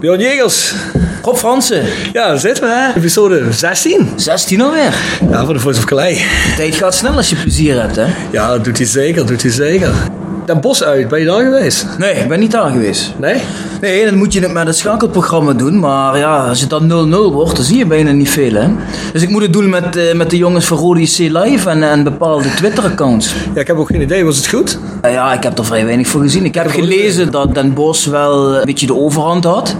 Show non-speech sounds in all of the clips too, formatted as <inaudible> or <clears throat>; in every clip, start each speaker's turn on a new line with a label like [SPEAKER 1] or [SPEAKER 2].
[SPEAKER 1] Björn Jegers.
[SPEAKER 2] Rob Fransen,
[SPEAKER 1] Ja, daar zitten we hè. Episode 16.
[SPEAKER 2] 16 alweer.
[SPEAKER 1] Ja, voor de Voice of Klei.
[SPEAKER 2] De tijd gaat snel als je plezier hebt, hè?
[SPEAKER 1] Ja, dat doet hij zeker, doet hij zeker. Den Bos uit, ben je daar geweest?
[SPEAKER 2] Nee, ik ben niet daar geweest.
[SPEAKER 1] Nee?
[SPEAKER 2] Nee, dan moet je het met het schakelprogramma doen. Maar ja, als het dan 0-0 wordt, dan zie je bijna niet veel, hè? Dus ik moet het doen met, eh, met de jongens van Rodi C Live en, en bepaalde Twitter-accounts.
[SPEAKER 1] Ja, ik heb ook geen idee. Was het goed?
[SPEAKER 2] Nou ja, ik heb er vrij weinig voor gezien. Ik heb gelezen dat Den Bos wel een beetje de overhand had.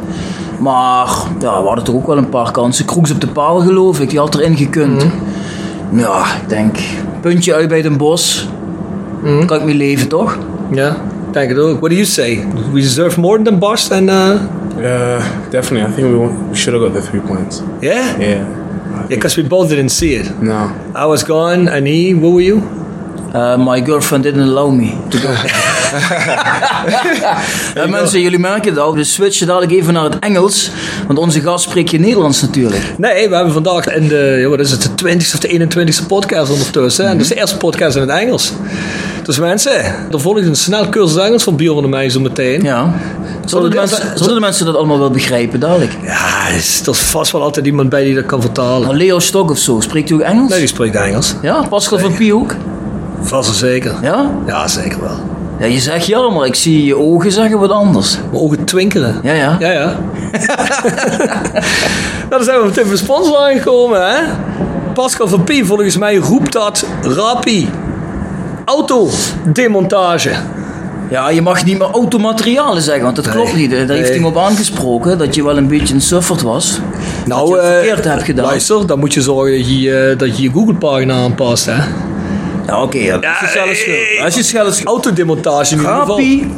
[SPEAKER 2] Maar ja, we hadden toch ook wel een paar kansen. Kroeks op de paal, geloof ik, die had erin gekund. Ja, ik denk, puntje uit bij Den Bos. Kan ik mee leven, toch?
[SPEAKER 1] Ja, ik denk het ook. What do you say? We deserve more than Bos and... Uh...
[SPEAKER 3] Uh, definitely. I think we, won- we should have got the three points.
[SPEAKER 1] Yeah? Yeah,
[SPEAKER 3] Yeah. I think-
[SPEAKER 1] because we both didn't see it.
[SPEAKER 3] No.
[SPEAKER 1] I was gone and he, who were you?
[SPEAKER 2] Eh, my girlfriend didn't allow me to go. <laughs> Eh, mensen, jullie merken het al. We switchen dadelijk even naar het Engels. Want onze gast spreekt geen Nederlands natuurlijk.
[SPEAKER 1] Nee, we hebben vandaag in de, ja, wat is het, de 20 of de 21ste podcast ondertussen. hè? Dus de eerste podcast in het Engels. Dus mensen, er volgt een snel cursus Engels van Bjorn en mij zo meteen.
[SPEAKER 2] Ja. Zullen de,
[SPEAKER 1] Zullen-
[SPEAKER 2] mensen, zullen de mensen dat allemaal wel begrijpen dadelijk?
[SPEAKER 1] Ja, er is, er is vast wel altijd iemand bij die dat kan vertalen.
[SPEAKER 2] Nou, Leo Stok of zo, spreekt u ook Engels?
[SPEAKER 1] Nee, die spreekt Engels.
[SPEAKER 2] Ja, Pascal van Piehoek?
[SPEAKER 1] Vast en zeker.
[SPEAKER 2] Ja?
[SPEAKER 1] Ja, zeker wel.
[SPEAKER 2] ja? Je zegt ja, maar ik zie je ogen zeggen wat anders.
[SPEAKER 1] Mijn ogen twinkelen.
[SPEAKER 2] Ja, ja.
[SPEAKER 1] Ja, <laughs> ja. nou, dan zijn we meteen bij de sponsor aangekomen, hè? Pascal van Pie, volgens mij roept dat Rapi. Autodemontage.
[SPEAKER 2] Ja, je mag niet meer automaterialen zeggen, want dat klopt niet. Daar heeft
[SPEAKER 1] nee.
[SPEAKER 2] hij me op aangesproken, dat je wel een beetje een sufferd was. dat je
[SPEAKER 1] eh,
[SPEAKER 2] het verkeerd hebt gedaan.
[SPEAKER 1] Luister, dan moet je zorgen dat je eh, dat je, je Google-pagina aanpast, hè? Eh,
[SPEAKER 2] Ja, oké, ja, dat is je zelf schuld. Dat is je zelf schuld.
[SPEAKER 1] Autodemontage in ieder geval.
[SPEAKER 2] Grappie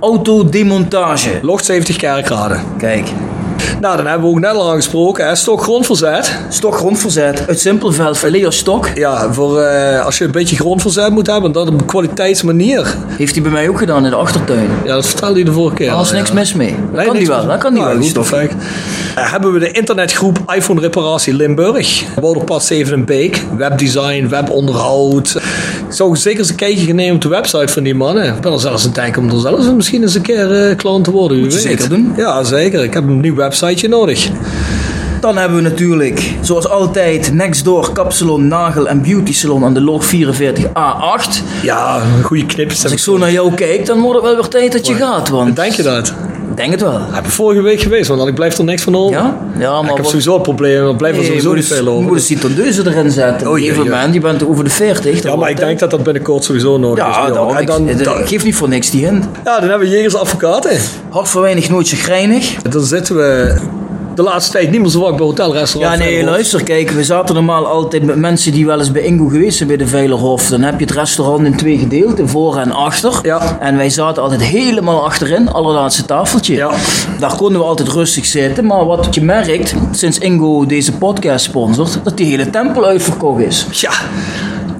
[SPEAKER 2] autodemontage.
[SPEAKER 1] Locht 70 kerkraden.
[SPEAKER 2] Kijk,
[SPEAKER 1] Nou, dan hebben we ook net al aangesproken, hè? Stok grondverzet.
[SPEAKER 2] stok grondverzet uit Simpelveld van Leo Stok.
[SPEAKER 1] Ja, voor, eh, als je een beetje grondverzet moet hebben, dan op een kwaliteitsmanier.
[SPEAKER 2] Heeft hij bij mij ook gedaan in de achtertuin.
[SPEAKER 1] Ja, dat vertelde je de vorige keer.
[SPEAKER 2] Daar was
[SPEAKER 1] al,
[SPEAKER 2] niks
[SPEAKER 1] ja.
[SPEAKER 2] mis mee. Dat kan die
[SPEAKER 1] niks
[SPEAKER 2] wel,
[SPEAKER 1] mis-
[SPEAKER 2] dat kan die
[SPEAKER 1] Nou,
[SPEAKER 2] wel.
[SPEAKER 1] goed,
[SPEAKER 2] die Stok.
[SPEAKER 1] perfect. Eh, hebben we de internetgroep iPhone Reparatie Limburg. Wouderpad 7 en Beek. Webdesign, webonderhoud. Ik zou zeker eens een kijkje gaan nemen op de website van die mannen. Ik ben er zelfs aan het denken om er zelfs misschien eens een keer eh, klant te worden. Moet
[SPEAKER 2] je zeker doen.
[SPEAKER 1] Ja, zeker. Ik heb een nieuw websiteje nodig.
[SPEAKER 2] Dan hebben we natuurlijk, zoals altijd, Nextdoor Kapsalon Nagel en Beauty Salon aan de Log 44A8.
[SPEAKER 1] Ja, goede knipjes.
[SPEAKER 2] Als ik zo naar jou kijk, dan wordt het wel weer tijd dat je gaat, want
[SPEAKER 1] Denk je dat?
[SPEAKER 2] ik denk het wel.
[SPEAKER 1] Ik ben vorige week geweest, want ik blijf er niks van over.
[SPEAKER 2] Ja? Ja, maar
[SPEAKER 1] ik heb
[SPEAKER 2] wat-
[SPEAKER 1] sowieso een probleem. Er blijft er
[SPEAKER 2] Nee,
[SPEAKER 1] sowieso
[SPEAKER 2] je
[SPEAKER 1] niet
[SPEAKER 2] moet
[SPEAKER 1] veel
[SPEAKER 2] eens-
[SPEAKER 1] over.
[SPEAKER 2] moet eens die tondeuzen erin zetten. Op een
[SPEAKER 1] Oh,
[SPEAKER 2] gegeven
[SPEAKER 1] ja, ja.
[SPEAKER 2] moment, je bent over de 40. dan
[SPEAKER 1] Ja, maar
[SPEAKER 2] wordt
[SPEAKER 1] ik
[SPEAKER 2] het-
[SPEAKER 1] denk dat dat binnenkort sowieso nodig is.
[SPEAKER 2] Ja,
[SPEAKER 1] Bjorn.
[SPEAKER 2] daarom.
[SPEAKER 1] En
[SPEAKER 2] Ik-
[SPEAKER 1] dan,
[SPEAKER 2] ik,
[SPEAKER 1] dan-
[SPEAKER 2] ik geef niet voor niks die hint.
[SPEAKER 1] Ja, dan hebben we Jegers Advocaten.
[SPEAKER 2] Hart voor weinig, nooit chagrijnig.
[SPEAKER 1] Dan zitten we de laatste tijd niet meer zo vaak bij
[SPEAKER 2] Ja,
[SPEAKER 1] hotelrestaurants.
[SPEAKER 2] nee, luister, kijk, we zaten normaal altijd met mensen die wel eens bij Ingo geweest zijn bij de Veilerhof. Dan heb je het restaurant in twee gedeeld, in voor en achter.
[SPEAKER 1] Ja.
[SPEAKER 2] En wij zaten altijd helemaal achterin, allerlaatste tafeltje.
[SPEAKER 1] Ja.
[SPEAKER 2] Daar konden we altijd rustig zitten, maar wat je merkt, sinds Ingo deze podcast sponsort, dat die hele tempel uitverkocht is.
[SPEAKER 1] Tja,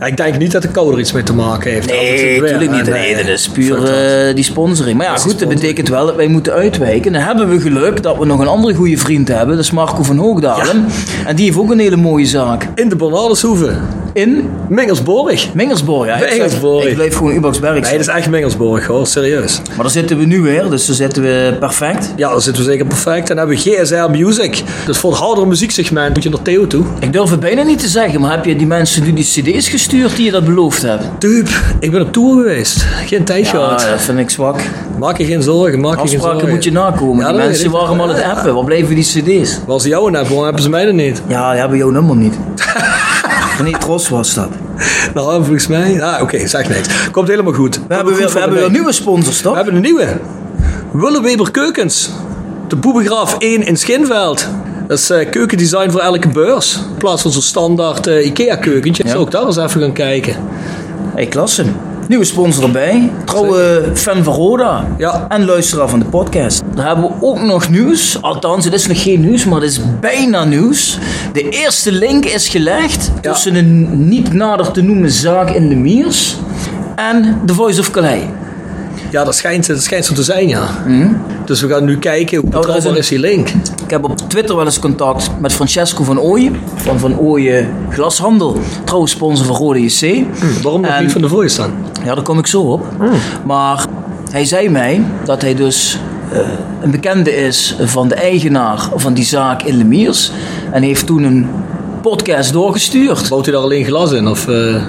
[SPEAKER 1] ik denk niet dat de kou er iets mee te maken heeft. Dat is
[SPEAKER 2] Nee,
[SPEAKER 1] het weer.
[SPEAKER 2] natuurlijk niet. Nee, dat is puur eh, die sponsoring. Maar ja, goed, dat betekent wel dat wij moeten uitwijken. Dan hebben we geluk dat we nog een andere goede vriend hebben. Dat is Marco van Hoogdalen. En die heeft ook een hele mooie zaak.
[SPEAKER 1] In de Bernardeshoeve.
[SPEAKER 2] In
[SPEAKER 1] Mengelsborg.
[SPEAKER 2] Mengelsborg, ja. Ik zeg-
[SPEAKER 1] Mengelsborg.
[SPEAKER 2] Ik blijf gewoon Ubaxberg
[SPEAKER 1] Nee, dat is echt Mengelsborg hoor, serieus.
[SPEAKER 2] Maar daar zitten we nu weer, dus daar zitten we perfect.
[SPEAKER 1] Ja, dan zitten we zeker perfect. Dan hebben we GSR Music. Dus voor het hardere muzieksegment moet je naar Theo toe.
[SPEAKER 2] Ik durf het bijna niet te zeggen, maar heb je die mensen nu die cd's gestuurd die je dat beloofd hebt?
[SPEAKER 1] Dupe, ik ben op tour geweest. Geen tijd
[SPEAKER 2] Ja,
[SPEAKER 1] gehad.
[SPEAKER 2] dat vind ik zwak.
[SPEAKER 1] Maak je geen zorgen, maak je geen zorgen.
[SPEAKER 2] Afspraken moet je
[SPEAKER 1] Ja,
[SPEAKER 2] nakomen. die
[SPEAKER 1] dat weet
[SPEAKER 2] mensen
[SPEAKER 1] ik.
[SPEAKER 2] waren al het appen. Waar blijven die cd's?
[SPEAKER 1] Was jou een app, waarom hebben ze mij dan niet?
[SPEAKER 2] Ja, die hebben jouw nummer <laughs> niet. Meneer Tros was dat.
[SPEAKER 1] Nou, volgens mij. Ah, oké, zeg niks. Komt helemaal goed.
[SPEAKER 2] We hebben weer, we hebben weer nieuwe sponsors,
[SPEAKER 1] We
[SPEAKER 2] toch?
[SPEAKER 1] hebben een nieuwe. Wille Weber Keukens. De Boebegraaf 1 in Schinveld. Dat is eh, keukendesign voor elke beurs. In plaats van zo'n standaard eh, IKEA-keukentje. Zou ik daar eens even gaan kijken.
[SPEAKER 2] Hey, klasse. Nieuwe sponsor erbij. Trouwe fan van Roda.
[SPEAKER 1] Ja.
[SPEAKER 2] En luisteraar van de podcast. Dan hebben we ook nog nieuws. Althans, het is nog geen nieuws, maar het is bijna nieuws. De eerste link is gelegd tussen een niet nader te noemen zaak in de Miers en The Voice of Calais.
[SPEAKER 1] Ja, dat schijnt, dat schijnt zo te zijn, ja.
[SPEAKER 2] Mhm.
[SPEAKER 1] Dus we gaan nu kijken hoe betrouwbaar
[SPEAKER 2] Oh, een-
[SPEAKER 1] is die link.
[SPEAKER 2] Ik heb op Twitter wel eens contact met Francesco van Ooyen van Van Ooyen Glashandel. Trouwe sponsor van Roda JC.
[SPEAKER 1] Hm, Waarom nog
[SPEAKER 2] En-
[SPEAKER 1] niet van de voice dan?
[SPEAKER 2] Ja, daar kom ik zo op. Maar hij zei mij dat hij dus eh, een bekende is van de eigenaar van die zaak in Lemiers. En heeft toen een podcast doorgestuurd.
[SPEAKER 1] Bouwt hij daar alleen glas in? Of, eh,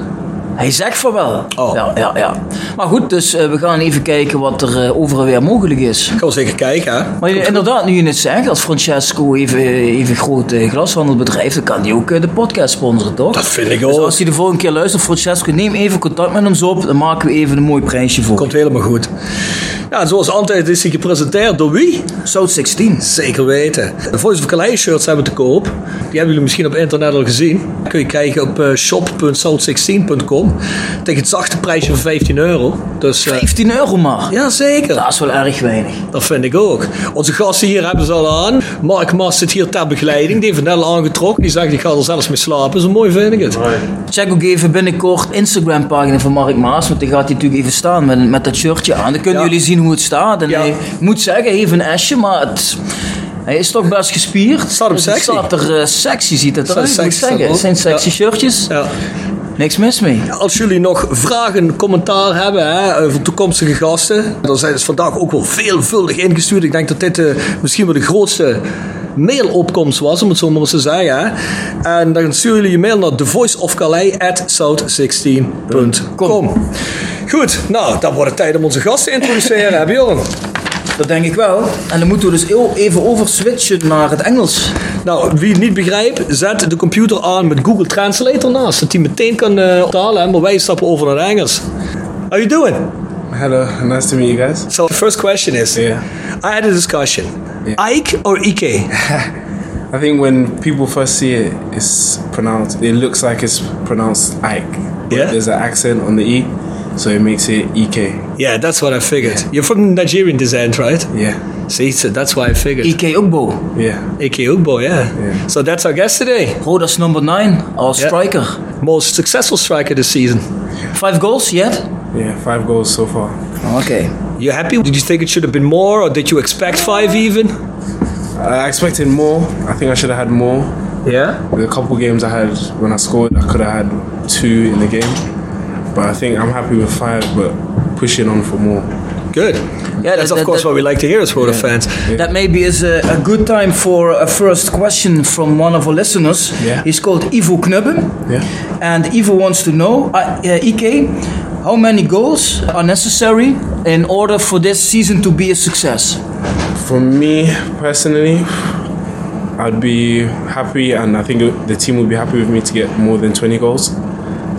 [SPEAKER 2] Hij zegt van wel.
[SPEAKER 1] Oh.
[SPEAKER 2] Ja, ja, ja. Maar goed, dus eh, we gaan even kijken wat er eh, over en weer mogelijk is.
[SPEAKER 1] Gaan we zeker kijken, hè?
[SPEAKER 2] Maar je- inderdaad, nu je het zegt, als Francesco even, even groot eh, glashandelbedrijf, dan kan hij ook eh, de podcast sponsoren, toch?
[SPEAKER 1] Dat vind ik
[SPEAKER 2] Dus
[SPEAKER 1] ook.
[SPEAKER 2] als hij de volgende keer luistert, Francesco, neem even contact met ons op. Dan maken we even een mooi prijsje voor.
[SPEAKER 1] Komt helemaal goed. Ja, en zoals altijd is hij gepresenteerd door wie?
[SPEAKER 2] South 16.
[SPEAKER 1] Zeker weten. De Voice of Calais shirts hebben we te koop. Die hebben jullie misschien op internet al gezien. Kun je kijken op eh, shop.south16.com. Tegen het zachte prijsje van 15 euro. Dus, eh,
[SPEAKER 2] 15 euro maar.
[SPEAKER 1] ja, zeker.
[SPEAKER 2] Dat is wel erg weinig.
[SPEAKER 1] Dat vind ik ook. Onze gasten hier hebben ze al aan. Mark Mas zit hier ter begeleiding. Die heeft het net al aangetrokken. Die zegt, ik ga er zelfs mee slapen. Zo mooi vind ik het.
[SPEAKER 2] Check ook even binnenkort Instagram pagina van Mark Maas. Want die gaat hij natuurlijk even staan met, met dat shirtje aan. Dan kunnen
[SPEAKER 1] Ja.
[SPEAKER 2] jullie zien hoe het staat. En
[SPEAKER 1] Ja.
[SPEAKER 2] hij- ik moet zeggen, hij heeft een esje, maar het, hij is toch best gespierd.
[SPEAKER 1] Staat hem
[SPEAKER 2] Dus het
[SPEAKER 1] sexy.
[SPEAKER 2] staat er eh, sexy, ziet het
[SPEAKER 1] Staat
[SPEAKER 2] eruit. moet ik
[SPEAKER 1] sexy,
[SPEAKER 2] zeggen.
[SPEAKER 1] staat
[SPEAKER 2] Het zijn
[SPEAKER 1] erop.
[SPEAKER 2] sexy
[SPEAKER 1] Ja.
[SPEAKER 2] shirtjes.
[SPEAKER 1] Ja.
[SPEAKER 2] Niks mis mee.
[SPEAKER 1] Als jullie nog vragen, commentaar hebben hè, over toekomstige gasten, dan zijn dus vandaag ook wel veelvuldig ingestuurd. Ik denk dat dit eh, misschien wel de grootste mailopkomst was, om het zo maar eens te zeggen. Hè. En dan sturen jullie je mail naar thevoiceofcalais.south16.com. Goed, nou, dan wordt het tijd om onze gast te introduceren, hè Bjorn?
[SPEAKER 2] Dat denk ik wel. En dan moeten we dus heel even overswitchen naar het Engels.
[SPEAKER 1] Nou, wie het niet begrijpt, zet de computer aan met Google Translate ernaast, dat hij meteen kan eh vertalen, hè, maar wij stappen over naar het Engels. How you doing?
[SPEAKER 3] Hello, nice to meet you guys.
[SPEAKER 1] So the first question is,
[SPEAKER 3] Yeah.
[SPEAKER 1] I had a discussion.
[SPEAKER 3] Yeah.
[SPEAKER 1] Ike or Ike?
[SPEAKER 3] I think when people first see it, it's pronounced. It looks like it's pronounced Ike. but
[SPEAKER 1] Yeah.
[SPEAKER 3] There's an accent on the E, so it makes it E EK.
[SPEAKER 1] Yeah, that's what I figured. You're from Nigerian descent, right?
[SPEAKER 3] Yeah.
[SPEAKER 1] See, so that's why I figured.
[SPEAKER 2] EK E Ogbo.
[SPEAKER 3] Yeah.
[SPEAKER 1] Ike Ugbo, yeah.
[SPEAKER 3] Yeah.
[SPEAKER 1] So that's our guest today.
[SPEAKER 2] Rodas number 9, our
[SPEAKER 1] Yeah.
[SPEAKER 2] striker.
[SPEAKER 1] Most successful striker this season.
[SPEAKER 2] Five goals yet?
[SPEAKER 3] Yeah. Five goals so far.
[SPEAKER 2] Oké.
[SPEAKER 1] You happy? Did you think it should have been more, or did you expect five even?
[SPEAKER 3] I expected more. I think I should have had more.
[SPEAKER 1] Yeah.
[SPEAKER 3] The couple games I had when I scored, I could have had two in the game. But I think I'm happy with five, but pushing on for more.
[SPEAKER 1] Good. Yeah, that's
[SPEAKER 2] that-
[SPEAKER 1] of course
[SPEAKER 2] that-
[SPEAKER 1] what we like to hear as Roda fans.
[SPEAKER 2] That maybe is a, a good time for a first question from one of our listeners.
[SPEAKER 3] Yeah.
[SPEAKER 2] He's called Ivo Knubben.
[SPEAKER 3] Yeah.
[SPEAKER 2] And Ivo wants to know, uh, uh, EK, how many goals are necessary in order for this season to be a success?
[SPEAKER 3] For me personally, I'd be happy, and I think the team would be happy with me to get more than 20 goals.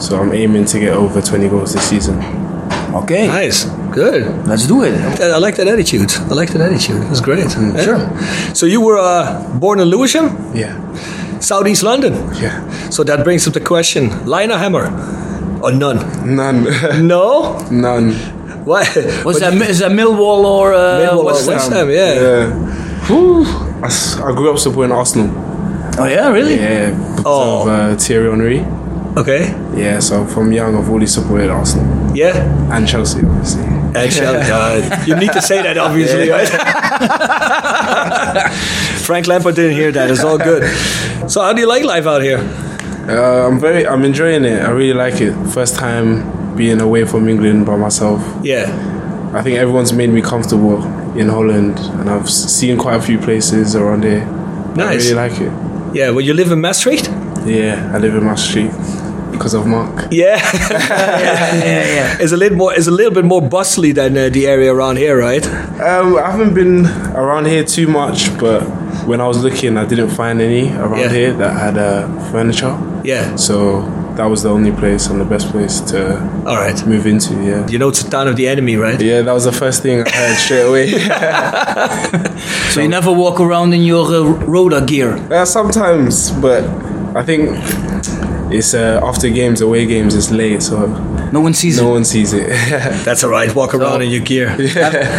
[SPEAKER 3] So I'm aiming to get over 20 goals this season.
[SPEAKER 2] Okay,
[SPEAKER 1] Nice. Good.
[SPEAKER 2] let's do it.
[SPEAKER 1] I like that attitude. I like that attitude. That's great. Yeah. So you were uh, born in Lewisham,
[SPEAKER 3] Yeah,
[SPEAKER 1] Southeast London.
[SPEAKER 3] yeah.
[SPEAKER 1] So that brings up the question: line or hammer, or none?
[SPEAKER 3] None, <laughs>
[SPEAKER 1] No.
[SPEAKER 3] none.
[SPEAKER 1] Why?
[SPEAKER 2] Was that, is that Millwall or uh,
[SPEAKER 1] Millwall or
[SPEAKER 2] West Ham?
[SPEAKER 1] West Ham, yeah.
[SPEAKER 3] Whew. I, s- I grew up supporting Arsenal.
[SPEAKER 2] Oh yeah, really?
[SPEAKER 3] Yeah, because
[SPEAKER 1] Oh.
[SPEAKER 3] of uh, Thierry Henry.
[SPEAKER 1] Okay.
[SPEAKER 3] Yeah, so from young, I've always supported Arsenal
[SPEAKER 1] Yeah.
[SPEAKER 3] and Chelsea, obviously.
[SPEAKER 1] Actually,
[SPEAKER 2] <laughs>
[SPEAKER 1] uh, you need to say that obviously, right? <laughs> Frank Lampard didn't hear that. It's all good. So how do you like life out here?
[SPEAKER 3] Uh, I'm very, I'm enjoying it. I really like it. First time being away from England by myself.
[SPEAKER 1] Yeah.
[SPEAKER 3] I think everyone's made me comfortable in Holland, and I've s- seen quite a few places around here. I
[SPEAKER 1] Nice.
[SPEAKER 3] really like it.
[SPEAKER 1] Yeah. Well, you live in Maastricht.
[SPEAKER 3] Yeah, I live in Maastricht because of Mark.
[SPEAKER 2] <laughs>
[SPEAKER 1] Yeah.
[SPEAKER 2] yeah, yeah.
[SPEAKER 1] it's a little more. It's a little bit more bustly than uh, the area around here, right?
[SPEAKER 3] Um, I haven't been around here too much, but when I was looking, I didn't find any around
[SPEAKER 1] Yeah.
[SPEAKER 3] here that had uh, furniture.
[SPEAKER 1] Yeah.
[SPEAKER 3] So that was the only place and the best place to
[SPEAKER 1] All right.
[SPEAKER 3] move into. Yeah.
[SPEAKER 1] You know, it's a town of the enemy, right?
[SPEAKER 3] Yeah, that was the first thing I heard straight
[SPEAKER 1] <laughs>
[SPEAKER 3] away.
[SPEAKER 2] So you never walk around in your uh, Roda gear.
[SPEAKER 3] Uh, sometimes, but I think it's uh, after games, away games, it's late, so
[SPEAKER 2] No one sees
[SPEAKER 3] No
[SPEAKER 2] it.
[SPEAKER 3] one sees it. <laughs>
[SPEAKER 1] That's all right. Walk around in your
[SPEAKER 2] <laughs>
[SPEAKER 1] gear.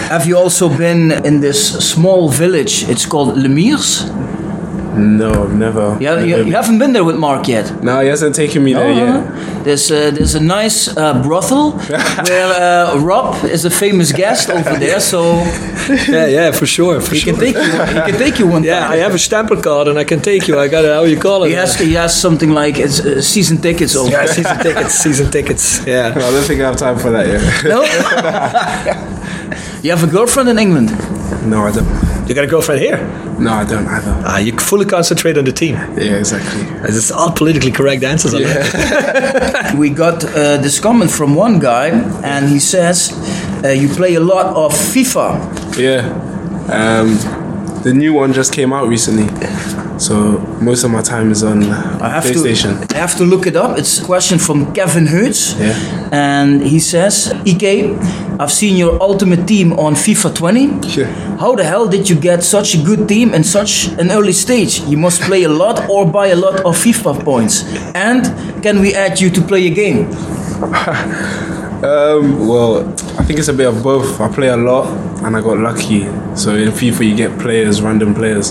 [SPEAKER 2] Have you also been in this small village? It's called Lemiers.
[SPEAKER 3] no, I've never.
[SPEAKER 2] Yeah, you, Oh, uh-huh. you haven't been there with Mark yet.
[SPEAKER 3] No, he hasn't taken me there yet.
[SPEAKER 1] Uh-huh.
[SPEAKER 2] There's a, there's a nice uh, brothel
[SPEAKER 1] <laughs>
[SPEAKER 2] where uh, Rob is a famous guest over there, so
[SPEAKER 1] Yeah, yeah, for sure, for
[SPEAKER 2] he
[SPEAKER 1] sure.
[SPEAKER 2] can take you. He can take you one
[SPEAKER 1] yeah,
[SPEAKER 2] time.
[SPEAKER 1] I have a stamper card and I can take you. I got it. How you call it?
[SPEAKER 2] He has, he has something like it's, uh, season tickets over.
[SPEAKER 1] Yeah, season tickets. Season tickets. Yeah. <laughs>
[SPEAKER 3] I don't think I have time for that yet.
[SPEAKER 2] No? you have a girlfriend in England?
[SPEAKER 3] <laughs> No, I don't.
[SPEAKER 1] You got a girlfriend here.
[SPEAKER 3] No, I don't either.
[SPEAKER 1] Ah, you fully concentrate on the team.
[SPEAKER 3] Yeah, exactly.
[SPEAKER 1] It's all politically correct answers. I like.
[SPEAKER 2] we got uh, this comment from one guy, and he says, uh, "You play a lot of FIFA."
[SPEAKER 3] Yeah. Um, the new one just came out recently, so most of my time is on
[SPEAKER 2] I have
[SPEAKER 3] PlayStation.
[SPEAKER 2] to. I have to look it up. It's a question from Kevin Hoots,
[SPEAKER 3] Yeah.
[SPEAKER 2] and he says, "Ek, I've seen your ultimate team on FIFA 20.
[SPEAKER 3] Yeah.
[SPEAKER 2] How the hell did you get such a good team in such an early stage? You must play a lot or buy a lot of FIFA points. And can we add you to play a game?"
[SPEAKER 3] Um, well, I think it's a bit of both. I play a lot, and I got lucky. So in FIFA, you get players, random players.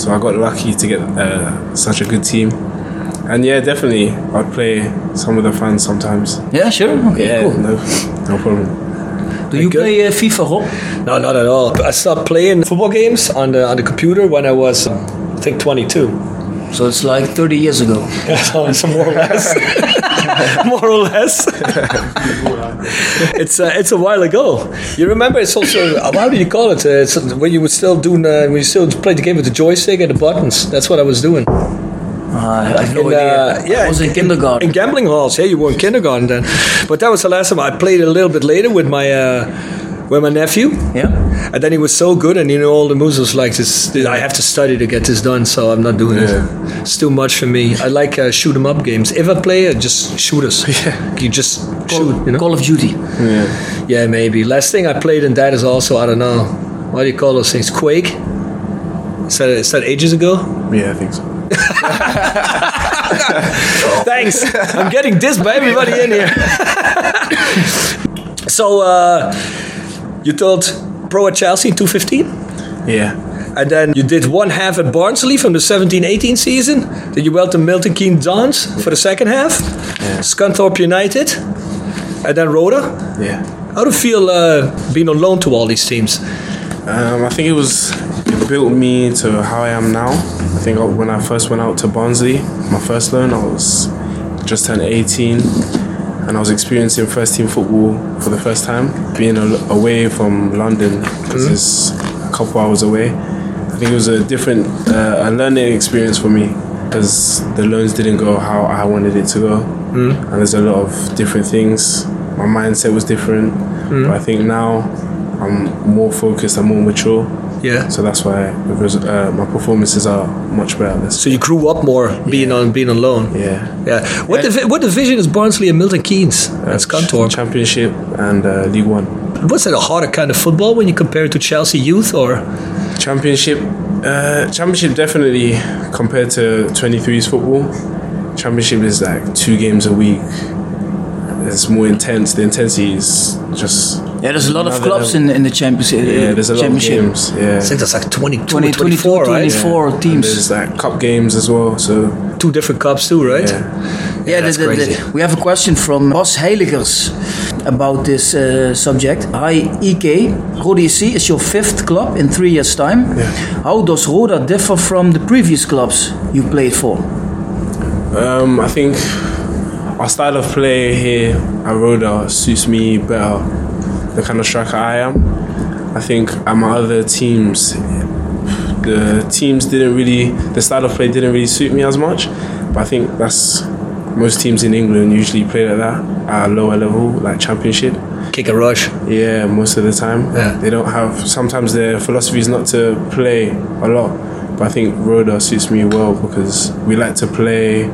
[SPEAKER 3] So I got lucky to get uh, such a good team. And yeah, definitely, I'd play some of the fans sometimes.
[SPEAKER 2] Yeah, sure. Okay,
[SPEAKER 3] Yeah,
[SPEAKER 2] cool.
[SPEAKER 3] no, no problem.
[SPEAKER 2] Do you
[SPEAKER 1] good.
[SPEAKER 2] play uh, FIFA, Rob?
[SPEAKER 1] No, not at all. I stopped playing football games on the on the computer when I was, um, I think, 22.
[SPEAKER 2] So it's like 30 years ago.
[SPEAKER 1] <laughs> so so more or less, <laughs> more or less. it's uh, it's a while ago. You remember? It's also uh, how do you call it? Uh, it's when you were still doing uh, when you still played the game with the joystick and the buttons. That's what I was doing.
[SPEAKER 2] I I have no
[SPEAKER 1] In, uh,
[SPEAKER 2] idea.
[SPEAKER 1] yeah,
[SPEAKER 2] I was in, kindergarten.
[SPEAKER 1] in gambling halls. Yeah, you were in kindergarten then. But that was the last time I played it a little bit later with my uh, with my nephew.
[SPEAKER 2] yeah.
[SPEAKER 1] And then he was so good, and you know all the moves was like this. I have to study to get this done, so I'm not doing it. It's too much for me. I like uh, shoot 'em up games. If I play, uh, just
[SPEAKER 2] <laughs>
[SPEAKER 1] shooters. Yeah. You just shoot. You know.
[SPEAKER 2] Call of Duty.
[SPEAKER 3] Yeah,
[SPEAKER 1] Yeah, maybe. Last thing I played in that is also I don't know. What do you call those things? Quake. Is that, is that ages ago?
[SPEAKER 3] yeah, I think so.
[SPEAKER 1] Thanks. I'm getting this by everybody in here. <laughs> so uh, you told pro at Chelsea in 215.
[SPEAKER 3] Yeah,
[SPEAKER 1] And then you did one half at Barnsley from the 17-18 season. Then you went to Milton Keynes Dons for the second half. Scunthorpe United. And then Roda.
[SPEAKER 3] yeah.
[SPEAKER 1] How do you feel uh, being on loan to all these teams?
[SPEAKER 3] Um, I think it was it built me to how I am now. I think when I first went out to Barnsley, my first loan, I was just turned 18, and I was experiencing first team football for the first time, being a- away from London because
[SPEAKER 1] Mm-hmm.
[SPEAKER 3] it's a couple hours away. I think it was a different, uh, a learning experience for me because the loans didn't go how I wanted it to go,
[SPEAKER 1] Mm-hmm.
[SPEAKER 3] and there's a lot of different things. My mindset was different,
[SPEAKER 1] Mm-hmm.
[SPEAKER 3] but I think now I'm more focused, I'm more mature.
[SPEAKER 1] Yeah.
[SPEAKER 3] So that's why the res- uh, my performances are much better. This.
[SPEAKER 1] So you grew up more being on being on loan.
[SPEAKER 3] yeah.
[SPEAKER 1] Yeah. Uh, What divi- what division is Barnsley and Milton Keynes? That's Scunthorpe.
[SPEAKER 3] Championship and uh, League One.
[SPEAKER 1] Was it a harder kind of football when you compare it to Chelsea youth or
[SPEAKER 3] Championship, uh, championship definitely compared to 23's football. Championship is like two games a week. It's more intense. The intensity is just
[SPEAKER 2] Yeah, there's a lot of
[SPEAKER 3] Another
[SPEAKER 2] clubs in, in the champions, uh,
[SPEAKER 3] yeah. There's a lot of
[SPEAKER 2] championship.
[SPEAKER 3] games. Yeah.
[SPEAKER 1] I think that's like 22
[SPEAKER 2] 20,
[SPEAKER 1] 24,
[SPEAKER 2] 24,
[SPEAKER 1] right?
[SPEAKER 3] Yeah.
[SPEAKER 2] 24
[SPEAKER 3] And
[SPEAKER 2] teams.
[SPEAKER 3] There's like cup games as well. So
[SPEAKER 1] Two different cups too, right?
[SPEAKER 3] yeah.
[SPEAKER 2] Yeah, the-
[SPEAKER 1] that's
[SPEAKER 2] the- the-
[SPEAKER 1] crazy.
[SPEAKER 2] we have a question from Bas Heiligers about this uh, subject. Hi, EK. Roda EC is your fifth club in three years' time.
[SPEAKER 3] Yeah.
[SPEAKER 2] How does Roda differ from the previous clubs you played for?
[SPEAKER 3] Um, I think our style of play here at Roda suits me better. The kind of striker I am. I think at my other teams, the teams didn't really, the style of play didn't really suit me as much. But I think that's most teams in England usually play like that at a lower level, like Championship.
[SPEAKER 1] Kick and rush.
[SPEAKER 3] Yeah, most of the time.
[SPEAKER 1] Yeah.
[SPEAKER 3] They don't have. Sometimes their philosophy is not to play a lot, but I think Roda suits me well because we like to play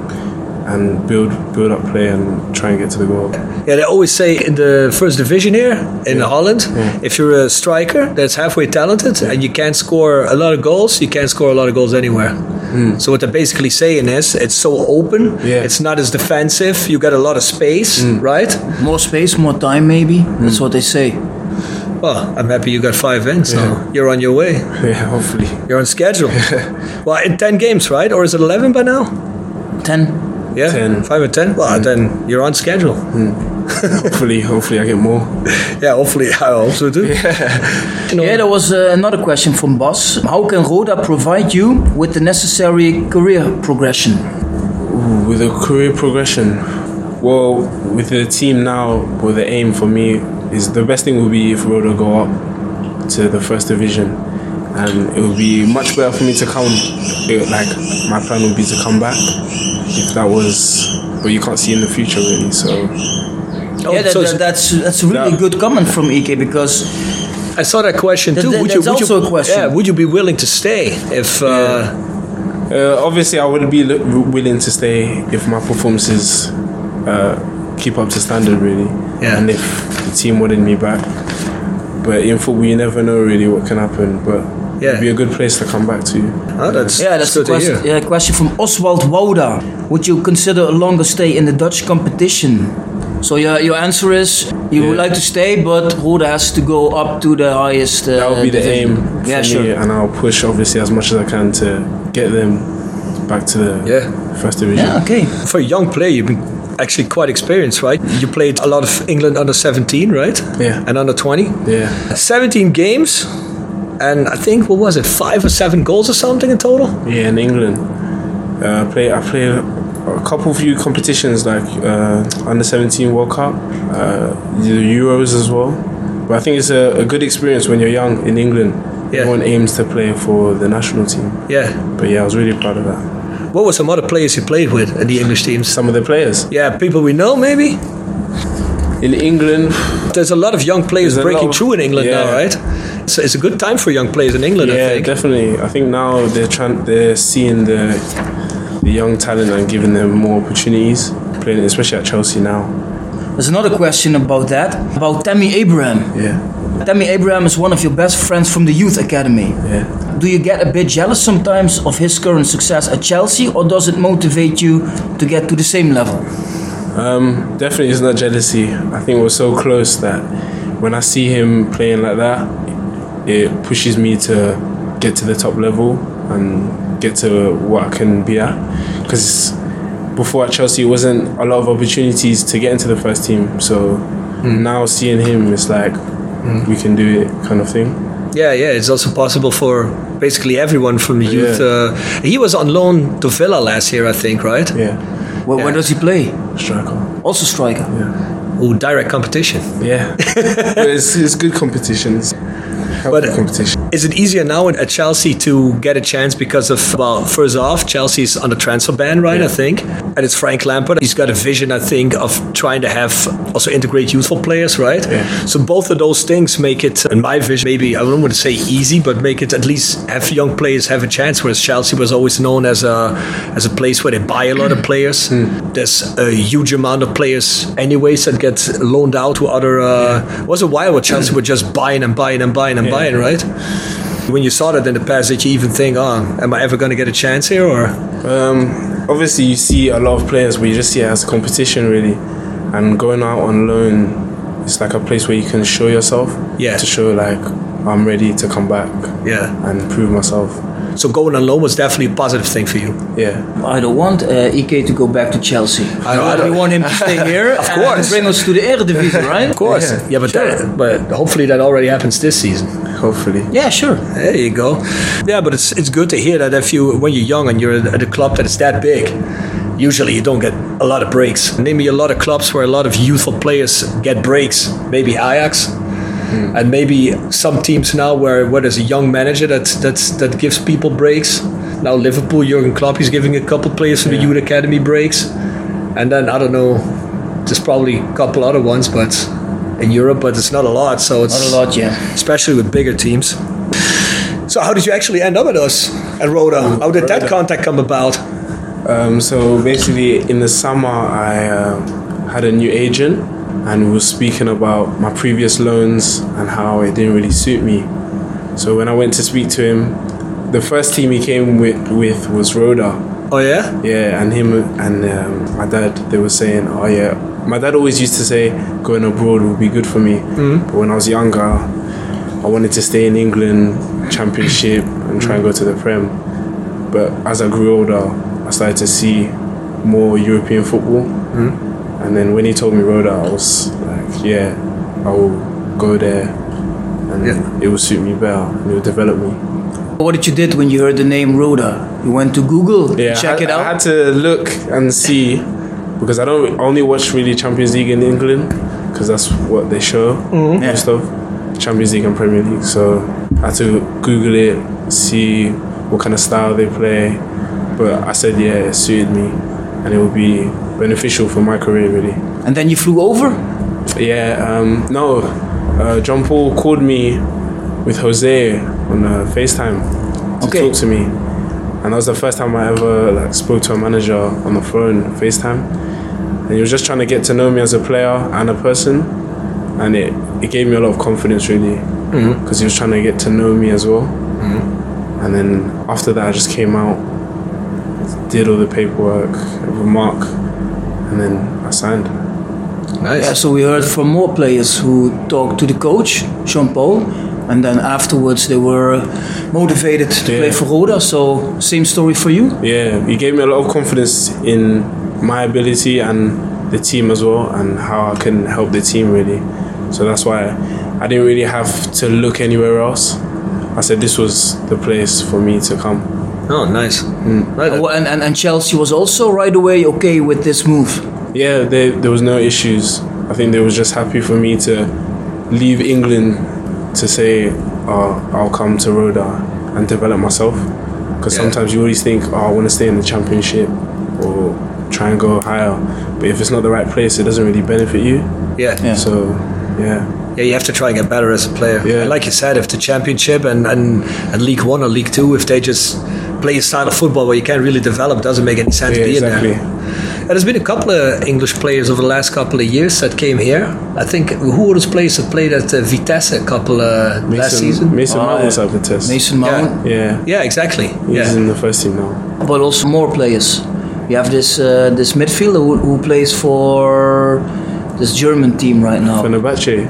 [SPEAKER 3] and build build up play and try and get to the goal. <laughs>
[SPEAKER 1] Yeah, they always say in the first division here in Holland, if you're a striker that's halfway talented and you can't score a lot of goals, you can't score a lot of goals anywhere. So what they're basically saying is, it's so open,
[SPEAKER 3] Hmm. Yeah. Hmm.
[SPEAKER 1] it's not as defensive. You get a lot of space, right?
[SPEAKER 2] More space, more time, maybe. That's what they say.
[SPEAKER 1] Well, I'm happy you got five wins. Now you're on your way.
[SPEAKER 3] Yeah, hopefully.
[SPEAKER 1] You're on
[SPEAKER 3] <laughs>
[SPEAKER 1] schedule. well, in ten games, right? Or is it eleven by now?
[SPEAKER 2] Ten.
[SPEAKER 1] Yeah,
[SPEAKER 3] 10.
[SPEAKER 1] five or ten. Well, then you're on schedule. <laughs>
[SPEAKER 3] Hopefully, hopefully I get more.
[SPEAKER 1] Yeah, hopefully I also do. You know,
[SPEAKER 2] Yeah, there was uh, another question from Bas. How can Roda provide you with the necessary career progression?
[SPEAKER 3] With a career progression, well, with the team now, well, the aim for me is the best thing would be if Roda go up. to the first division, and it would be much better for me to come. It, like my plan would be to come back if that was, but you can't see in the future really. So
[SPEAKER 2] yeah, that,
[SPEAKER 1] Oh, so it's-
[SPEAKER 2] that, that's that's a really
[SPEAKER 3] Oh, Yeah.
[SPEAKER 2] good comment from EK because
[SPEAKER 1] I saw that question
[SPEAKER 2] That-
[SPEAKER 1] too.
[SPEAKER 2] that-
[SPEAKER 1] would you,
[SPEAKER 2] that's
[SPEAKER 1] would you,
[SPEAKER 2] also a question.
[SPEAKER 1] Yeah, would you be willing to stay if? Uh,
[SPEAKER 3] uh, obviously, I would be lo- willing to stay if my performances uh, keep up to standard really,
[SPEAKER 1] Yeah.
[SPEAKER 3] and if the team wanted me back. But in football, you never know really what can happen. But
[SPEAKER 1] Yeah.
[SPEAKER 3] it'd be a good place to come back to.
[SPEAKER 1] oh, that's
[SPEAKER 2] yeah, that's
[SPEAKER 1] good
[SPEAKER 2] the
[SPEAKER 1] to
[SPEAKER 2] question.
[SPEAKER 1] hear.
[SPEAKER 2] Yeah, question from Oswald Wouda. Would you consider a longer stay in the Dutch competition? So your your answer is you would
[SPEAKER 3] Yeah.
[SPEAKER 2] like to stay, but Roda has to go up to the highest. Uh,
[SPEAKER 3] That would be the aim
[SPEAKER 2] division.
[SPEAKER 3] for
[SPEAKER 2] Yeah,
[SPEAKER 3] me,
[SPEAKER 2] sure.
[SPEAKER 3] and I'll push obviously as much as I can to get them back to the
[SPEAKER 1] Yeah.
[SPEAKER 3] first division.
[SPEAKER 2] Yeah, okay.
[SPEAKER 1] For a young player, you've been actually quite experienced, right? You played a lot of England under 17, right?
[SPEAKER 3] Yeah.
[SPEAKER 1] And under 20.
[SPEAKER 3] Yeah,
[SPEAKER 1] 17 games, and I think what was it, five or seven goals or something in total?
[SPEAKER 3] yeah, in England, uh, I play. I played a couple few competitions like uh, under seventeen World Cup, uh, the Euros as well. But I think it's a, a good experience when you're young in England.
[SPEAKER 1] Yeah.
[SPEAKER 3] Everyone aims to play for the national team.
[SPEAKER 1] Yeah.
[SPEAKER 3] But yeah, I was really proud of that.
[SPEAKER 1] What were some other players you played with in the English teams?
[SPEAKER 3] Some of the players
[SPEAKER 1] Yeah, people we know maybe.
[SPEAKER 3] in England,
[SPEAKER 1] There's a lot of young players
[SPEAKER 3] There's a
[SPEAKER 1] breaking
[SPEAKER 3] lot of-
[SPEAKER 1] through in England now,
[SPEAKER 3] Yeah.
[SPEAKER 1] right? So it's a good time for young players in England, I
[SPEAKER 3] <sighs> yeah,
[SPEAKER 1] think.
[SPEAKER 3] definitely. I think now they're trying, they're seeing the the young talent and giving them more opportunities. Playing, especially at Chelsea now.
[SPEAKER 2] There's another question about that about Tammy Abraham.
[SPEAKER 3] Yeah,
[SPEAKER 2] Tammy Abraham is one of your best friends from the youth academy.
[SPEAKER 3] yeah.
[SPEAKER 2] Do you get a bit jealous sometimes of his current success at Chelsea, or does it motivate you to get to the same level?
[SPEAKER 3] Um, definitely, it's not jealousy. I think we're so close that when I see him playing like that, it pushes me to get to the top level and get to what I can be at. Because before at Chelsea, it wasn't a lot of opportunities to get into the first team. So now seeing him, it's like we can do it, kind of thing.
[SPEAKER 1] Yeah, yeah, it's also possible for basically everyone from the youth.
[SPEAKER 3] Yeah.
[SPEAKER 1] Uh, he was on loan to Villa last year, I think, right?
[SPEAKER 3] Yeah,
[SPEAKER 2] Where, where
[SPEAKER 1] Yeah.
[SPEAKER 2] does he play?
[SPEAKER 3] striker.
[SPEAKER 2] Also striker.
[SPEAKER 3] Yeah,
[SPEAKER 1] Oh, direct competition.
[SPEAKER 3] yeah. but it's, it's good competitions. Healthy
[SPEAKER 1] But-
[SPEAKER 3] competition.
[SPEAKER 1] Is it easier now at Chelsea to get a chance because of, well, first off, Chelsea's on the transfer ban, right, I think? And it's Frank Lampard. He's got a vision, I think, of trying to have also integrate youthful players, right?
[SPEAKER 3] Yeah.
[SPEAKER 1] So both of those things make it, in my vision, maybe, I don't want to say easy, but make it at least have young players have a chance, whereas Chelsea was always known as a, as a place where they buy a lot of players. There's a huge amount of players, anyways, that get loaned out to other. Uh, was a while where Chelsea were just buying and buying and buying and buying, right? When you saw that in the past, did you even think, oh, am I ever going to get a chance here? Or
[SPEAKER 3] Um, obviously, you see a lot of players, but you just see it as competition, really. And going out on loan, it's like a place where you can show yourself.
[SPEAKER 1] Yeah.
[SPEAKER 3] To show like I'm ready to come back.
[SPEAKER 1] yeah,
[SPEAKER 3] And prove myself.
[SPEAKER 1] so going on loan was definitely a positive thing for you.
[SPEAKER 3] Yeah.
[SPEAKER 2] I don't want uh, Ike to go back to Chelsea. I
[SPEAKER 1] don't- I don't-
[SPEAKER 2] want him to stay here. of
[SPEAKER 1] course.
[SPEAKER 2] bring us to the Eredivisie, right? Of
[SPEAKER 1] course. Yeah, but that, but hopefully that already happens this season.
[SPEAKER 3] Hopefully.
[SPEAKER 2] Yeah, sure.
[SPEAKER 1] There you go. Yeah, but it's it's good to hear that if you when you're young and you're at a club that is that big, usually you don't get a lot of breaks. Name me a lot of clubs where a lot of youthful players get breaks. Maybe Ajax.
[SPEAKER 2] Hmm.
[SPEAKER 1] And maybe some teams now where, where there's a young manager that that's, that gives people breaks. Now Liverpool, Jurgen Klopp, he's giving a couple players from the youth academy breaks, and then I don't know, there's probably a couple other ones, but in Europe, but it's not a lot. So it's
[SPEAKER 2] Not a lot, yeah.
[SPEAKER 1] especially with bigger teams. So how did you actually end up at us at Roda? How did that
[SPEAKER 3] Roda.
[SPEAKER 1] contact come about?
[SPEAKER 3] Um, so basically, in the summer, I um, had a new agent, and we were speaking about my previous loans and how it didn't really suit me. So when I went to speak to him, the first team he came with, with was Roda.
[SPEAKER 1] Oh yeah,
[SPEAKER 3] Yeah, and him and um, my dad, they were saying, "Oh yeah." My dad always used to say, "Going abroad would be good for me." But when I was younger, I wanted to stay in England, Championship, and try and go to the Prem. But as I grew older, I started to see more European football. And then when he told me Roda, I was like, "Yeah, I will go there." And
[SPEAKER 1] Yeah.
[SPEAKER 3] it will suit me better and it will develop me.
[SPEAKER 2] What did you did when you heard the name Roda? You went to Google,
[SPEAKER 3] Yeah,
[SPEAKER 2] check
[SPEAKER 3] I,
[SPEAKER 2] it out.
[SPEAKER 3] I had to look and see because I
[SPEAKER 2] Mm-hmm.
[SPEAKER 3] don't I only watch really Champions League in England because that's what they show most of. Champions League and Premier League. So I had to Google it, see what kind of style they play. But I said, yeah, it suited me, and it would be beneficial for my career really.
[SPEAKER 2] And then you flew over?
[SPEAKER 3] Yeah, um, no, uh, John Paul called me with Jose on uh, FaceTime to
[SPEAKER 2] Okay.
[SPEAKER 3] talk to me. And that was the first time I ever like spoke to a manager on the phone, FaceTime. And he was just trying to get to know me as a player and a person. And it, it gave me a lot of confidence really. Because he was trying to get to know me as well. And then after that, I just came out, did all the paperwork with Mark, and then I signed.
[SPEAKER 2] Yeah,
[SPEAKER 1] Nice.
[SPEAKER 2] so we heard from more players who talked to the coach, Sean Paul, and then afterwards they were motivated to
[SPEAKER 3] Yeah.
[SPEAKER 2] play for Roda. So same story for you.
[SPEAKER 3] Yeah, he gave me a lot of confidence in my ability and the team as well, and how I can help the team really. So that's why I didn't really have to look anywhere else. I said this was the place for me to come.
[SPEAKER 1] Oh, nice.
[SPEAKER 3] Mm.
[SPEAKER 1] Right,
[SPEAKER 2] Well, And, and, and Chelsea was also right away okay with this move.
[SPEAKER 3] Yeah, there there was no issues. I think they was just happy for me to leave England to say, oh, I'll come to Roda and develop myself. Because
[SPEAKER 1] Yeah.
[SPEAKER 3] sometimes you always think, oh, I want to stay in the championship or try and go higher. But if it's not the right place, it doesn't really benefit you.
[SPEAKER 1] yeah. yeah.
[SPEAKER 2] Yeah.
[SPEAKER 3] So, yeah,
[SPEAKER 1] you have to try and get better as a player.
[SPEAKER 3] Yeah.
[SPEAKER 1] And like you said, if the championship and, and, and League One or League Two, if they just play a style of football where you can't really develop, doesn't make any sense
[SPEAKER 3] Yeah,
[SPEAKER 1] being
[SPEAKER 3] exactly.
[SPEAKER 1] there. And there's been a couple of English players over the last couple of years that came here. I think who were those players that played at uh, Vitesse a couple uh,
[SPEAKER 3] Mason,
[SPEAKER 1] last season?
[SPEAKER 3] Mason
[SPEAKER 2] Oh,
[SPEAKER 3] Mount was
[SPEAKER 2] yeah.
[SPEAKER 3] up for test.
[SPEAKER 2] Mason Mount,
[SPEAKER 3] Yeah,
[SPEAKER 1] Yeah, exactly.
[SPEAKER 3] he's
[SPEAKER 1] yeah.
[SPEAKER 3] in the first team now.
[SPEAKER 2] but also more players. You have this uh, this midfielder who, who plays for this German team right now,
[SPEAKER 3] Fenerbahce.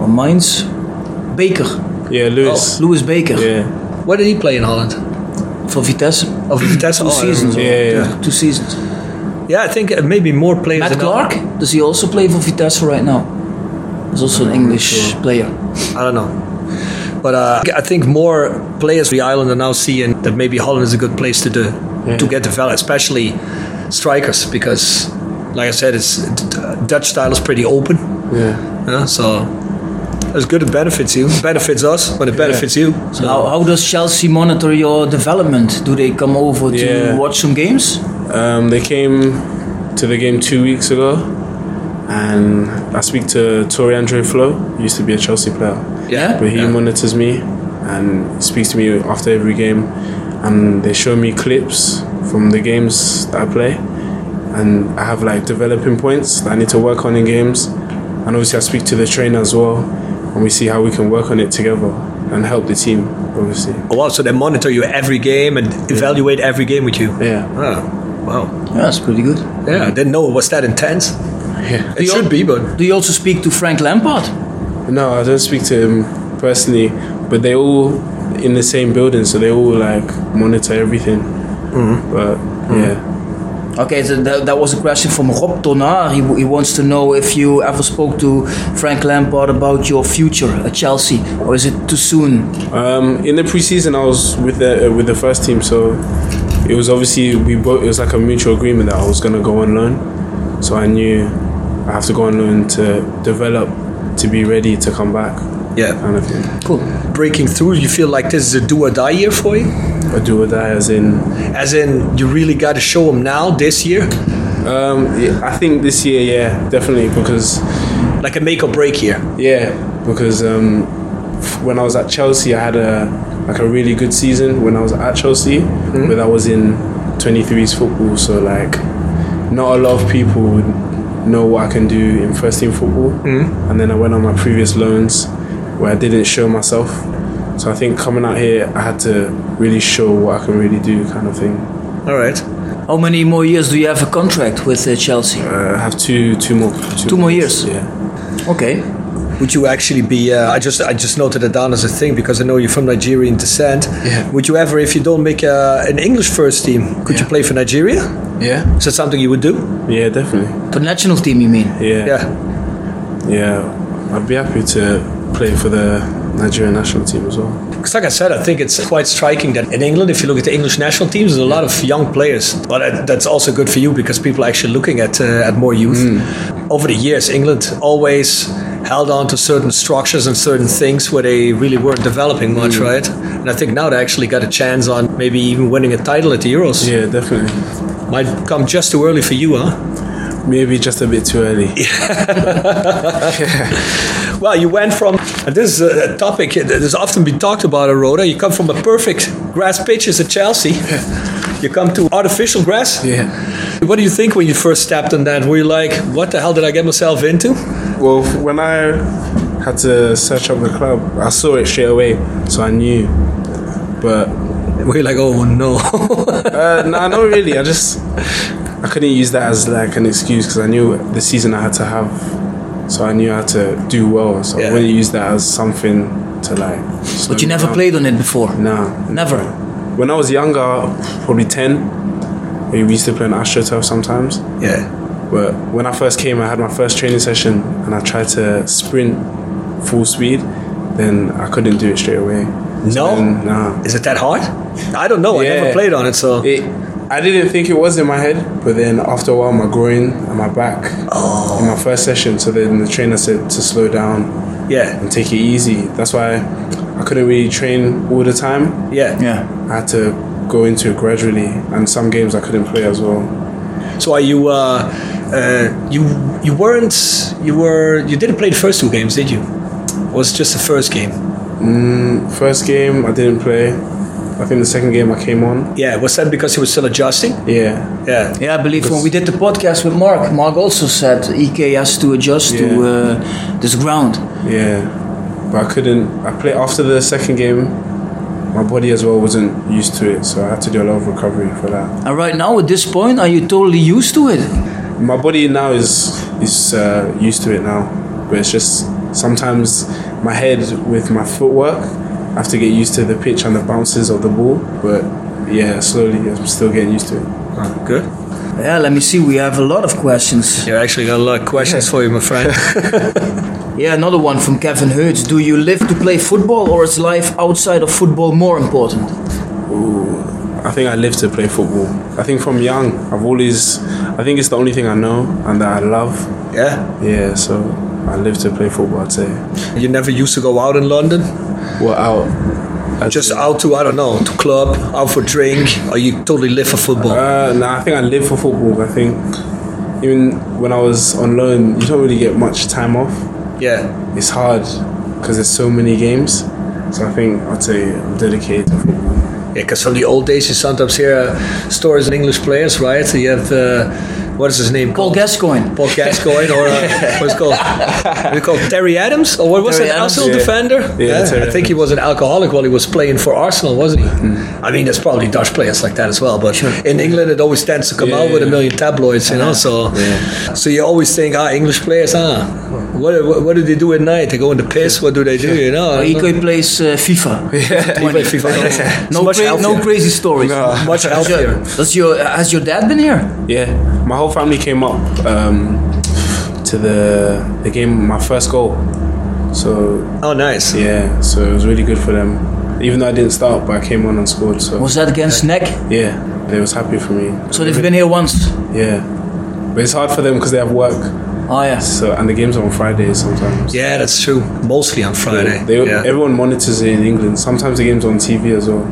[SPEAKER 2] or Mainz, Baker,
[SPEAKER 3] Yeah, Lewis.
[SPEAKER 2] Louis Baker
[SPEAKER 3] Yeah,
[SPEAKER 1] Where did he play in Holland?
[SPEAKER 2] for Vitesse.
[SPEAKER 1] <clears throat> Of Vitesse
[SPEAKER 2] Two
[SPEAKER 1] oh, I
[SPEAKER 2] seasons,
[SPEAKER 1] remember.
[SPEAKER 3] Yeah, yeah.
[SPEAKER 2] Two, two seasons.
[SPEAKER 1] Yeah, I think uh, maybe more players.
[SPEAKER 2] Matt
[SPEAKER 1] than-
[SPEAKER 2] Clark, does he also play for Vitesse right now? He's also an English player.
[SPEAKER 1] I don't know. But uh, I think more players from the island are now seeing that maybe Holland is a good place to do to get developed, especially strikers, because like I said, it's Dutch style is pretty open.
[SPEAKER 3] yeah.
[SPEAKER 1] Yeah, so it's good. It benefits you, benefits us, but it benefits you. So
[SPEAKER 2] How, how does Chelsea monitor your development? Do they come over to
[SPEAKER 3] Yeah.
[SPEAKER 2] watch some games?
[SPEAKER 3] Um, they came to the game two weeks ago, and I speak to Tori Andre Flo. He used to be a Chelsea player,
[SPEAKER 1] yeah,
[SPEAKER 3] but he monitors me and speaks to me after every game, and they show me clips from the games that I play, and I have like developing points that I need to work on in games, and obviously I speak to the trainer as well, and we see how we can work on it together and help the team, obviously.
[SPEAKER 1] Oh, wow, so they monitor you every game and evaluate every game with you.
[SPEAKER 3] Yeah,
[SPEAKER 1] Oh, wow.
[SPEAKER 2] Yeah, that's pretty good.
[SPEAKER 1] Yeah, I didn't know it was that intense.
[SPEAKER 3] yeah.
[SPEAKER 1] It
[SPEAKER 2] you-
[SPEAKER 1] should be, but
[SPEAKER 2] Do you also speak to Frank Lampard?
[SPEAKER 3] No, I don't speak to him personally, but they all in the same building, so they all like monitor everything. But yeah,
[SPEAKER 2] Okay, so that, that was a question from Rob Tonar. He, w- he wants to know if you ever spoke to Frank Lampard about your future at Chelsea, or is it too soon?
[SPEAKER 3] um, in the preseason, I was with the uh, with the first team, so it was obviously we both. It was like a mutual agreement that I was gonna go on loan, so I knew I have to go on loan to develop to be ready to come back.
[SPEAKER 1] yeah,
[SPEAKER 3] Kind of thing.
[SPEAKER 2] Cool.
[SPEAKER 1] breaking through. You feel like this is a do or die year for you.
[SPEAKER 3] I do or die, as in
[SPEAKER 1] As in, you really got to show them now this year,
[SPEAKER 3] um, yeah, I think this year, yeah, definitely because.
[SPEAKER 1] like a make or break year.
[SPEAKER 3] Yeah, because um, f- when I was at Chelsea, I had a like a really good season when I was at Chelsea,
[SPEAKER 2] Mm-hmm.
[SPEAKER 3] but I was in 23s football, so like not a lot of people would know what I can do in first team football.
[SPEAKER 2] Mm-hmm.
[SPEAKER 3] And then I went on my previous loans where I didn't show myself. So I think coming out here, I had to really show what I can really do, kind of thing.
[SPEAKER 1] All right.
[SPEAKER 2] How many more years do you have a contract with uh, Chelsea?
[SPEAKER 3] Uh, I have two, two more,
[SPEAKER 2] Two more years.
[SPEAKER 3] Yeah.
[SPEAKER 2] Okay.
[SPEAKER 1] Would you actually be? Uh, I just I just noted it down as a thing because I know you're from Nigerian descent.
[SPEAKER 3] Yeah.
[SPEAKER 1] Would you ever, if you don't make uh, an English first team, could you play for Nigeria?
[SPEAKER 3] Yeah.
[SPEAKER 1] Is that something you would do?
[SPEAKER 3] Yeah, definitely.
[SPEAKER 2] For national team, you mean?
[SPEAKER 1] Yeah.
[SPEAKER 3] Yeah, I'd be happy to play for the Nigerian national team as well.
[SPEAKER 1] Because like I said, I think it's quite striking that in England, if you look at the English national teams, there's a lot of young players. But that- that's also good for you because people are actually looking at uh, at more youth. Over the years, England always held on to certain structures and certain things where they really weren't developing much, right? And I think now they actually got a chance on maybe even winning a title at the Euros.
[SPEAKER 3] Yeah, definitely.
[SPEAKER 1] Might come just too early for you, huh?
[SPEAKER 3] Maybe just a bit too <laughs> early.
[SPEAKER 1] Well, you went from and this is a a topic that has often been talked about, Roda. You come from a perfect grass pitches at Chelsea. You come to artificial grass.
[SPEAKER 3] Yeah.
[SPEAKER 1] What do you think when you first stepped on that? Were you like, what the hell did I get myself into?
[SPEAKER 3] Well, when I had to search up the club, I saw it straight away, so I knew. But
[SPEAKER 1] Were you like, oh no? <laughs>
[SPEAKER 3] uh, no, not really. I just I couldn't use that as like an excuse because I knew the season I had to have, so I knew I had to do well. So
[SPEAKER 1] Yeah.
[SPEAKER 3] I wouldn't use that as something to like. slow
[SPEAKER 2] But you
[SPEAKER 3] me
[SPEAKER 2] never
[SPEAKER 3] down.
[SPEAKER 2] played on it before?
[SPEAKER 3] Nah.
[SPEAKER 2] Never?
[SPEAKER 3] When I was younger, probably ten, we used to play on AstroTurf sometimes.
[SPEAKER 1] yeah.
[SPEAKER 3] But when I first came, I had my first training session and I tried to sprint full speed. Then I couldn't do it straight away.
[SPEAKER 1] No?
[SPEAKER 3] then, nah.
[SPEAKER 1] Is it that hard? I don't know. I never
[SPEAKER 3] Yeah.
[SPEAKER 1] played on it, so.
[SPEAKER 3] It, I didn't think it was in my head, but then after a while, my groin and my back in my first session. So then the trainer said to slow down
[SPEAKER 1] Yeah.
[SPEAKER 3] and take it easy. That's why I couldn't really train all the time.
[SPEAKER 1] Yeah.
[SPEAKER 2] Yeah.
[SPEAKER 3] I had to go into it gradually, and some games I couldn't play as well.
[SPEAKER 1] So are you, uh, uh, you, you weren't, you were, you didn't play the first two games, did you? Or was it just the first game?
[SPEAKER 3] First game, I didn't play. I think the second game I came on.
[SPEAKER 1] Yeah. Was that because you were still adjusting?
[SPEAKER 3] Yeah,
[SPEAKER 1] Yeah.
[SPEAKER 2] Yeah, I believe when we did the podcast with Mark, Mark also said EK has to adjust to
[SPEAKER 3] Yeah.
[SPEAKER 2] uh, this ground.
[SPEAKER 3] Yeah, but I couldn't. I played after the second game. My body as well wasn't used to it, so I had to do a lot of recovery for that.
[SPEAKER 2] And right now, at this point, are you totally used to it?
[SPEAKER 3] My body now is is uh, used to it now, but it's just sometimes my head with my footwork. I have to get used to the pitch and the bounces of the ball, but yeah, slowly I'm still getting used to it.
[SPEAKER 1] Oh, good.
[SPEAKER 2] Yeah, let me see. We have a lot of questions.
[SPEAKER 1] You actually got a lot of questions for you, my friend.
[SPEAKER 2] Yeah, another one from Kevin Hertz. Do you live to play football or is life outside of football more important?
[SPEAKER 3] Ooh, I think I live to play football. I think from young, I've always. I think it's the only thing I know and that I love.
[SPEAKER 1] yeah.
[SPEAKER 3] Yeah, so I live to play football. I'd say.
[SPEAKER 1] You never used to go out in London?
[SPEAKER 3] Well, out. I
[SPEAKER 1] Just
[SPEAKER 3] think-
[SPEAKER 1] out to, I don't know, to club, out for drink, or you totally live for football?
[SPEAKER 3] Uh, nah, I think I live for football. I think even when I was on loan, you don't really get much time off.
[SPEAKER 1] yeah.
[SPEAKER 3] It's hard because there's so many games. So I think I'd say I'm dedicated to football.
[SPEAKER 1] Yeah, because from the old days, you sometimes hear uh, stories of English players, right? You have, uh, what is his name?
[SPEAKER 2] Paul
[SPEAKER 1] called?
[SPEAKER 2] Gascoigne.
[SPEAKER 1] Paul Gascoigne, or uh, what's it called? We called Terry Adams, or what was
[SPEAKER 2] Terry
[SPEAKER 1] it?
[SPEAKER 2] Adams.
[SPEAKER 1] Arsenal
[SPEAKER 3] Yeah.
[SPEAKER 1] defender.
[SPEAKER 3] Yeah, Terry
[SPEAKER 1] I think he was an alcoholic while he was playing for Arsenal, wasn't he?
[SPEAKER 3] Mm.
[SPEAKER 1] I mean, there's probably Dutch players like that as well, but in England, it always tends to come
[SPEAKER 3] Yeah,
[SPEAKER 1] out with a
[SPEAKER 3] yeah. Uh-huh.
[SPEAKER 1] million tabloids, you know. So, so you always think, ah, English players, ah, what, what, what do they do at night? They go in the piss. What do they do? You know,
[SPEAKER 2] Or EK plays uh,
[SPEAKER 1] <laughs>
[SPEAKER 2] FIFA.
[SPEAKER 1] He played FIFA.
[SPEAKER 2] No,
[SPEAKER 1] It's much
[SPEAKER 2] cra- no
[SPEAKER 1] healthier.
[SPEAKER 2] crazy stories.
[SPEAKER 1] Much healthier.
[SPEAKER 2] Does your, has your dad been here?
[SPEAKER 3] Yeah, my whole family came up um, to the the game. My first goal. So
[SPEAKER 1] Oh, nice.
[SPEAKER 3] yeah, so it was really good for them. Even though I didn't start, but I came on and scored. So
[SPEAKER 2] Was that against Neck?
[SPEAKER 3] yeah, they was happy for me.
[SPEAKER 2] So they've been here once.
[SPEAKER 3] Yeah, but it's hard for them because they have work.
[SPEAKER 2] Oh, yeah.
[SPEAKER 3] So and the games are on Fridays sometimes.
[SPEAKER 1] Yeah, that's true. Mostly on Friday.
[SPEAKER 3] They,
[SPEAKER 1] yeah.
[SPEAKER 3] Everyone monitors it in England. Sometimes the games on TV as well.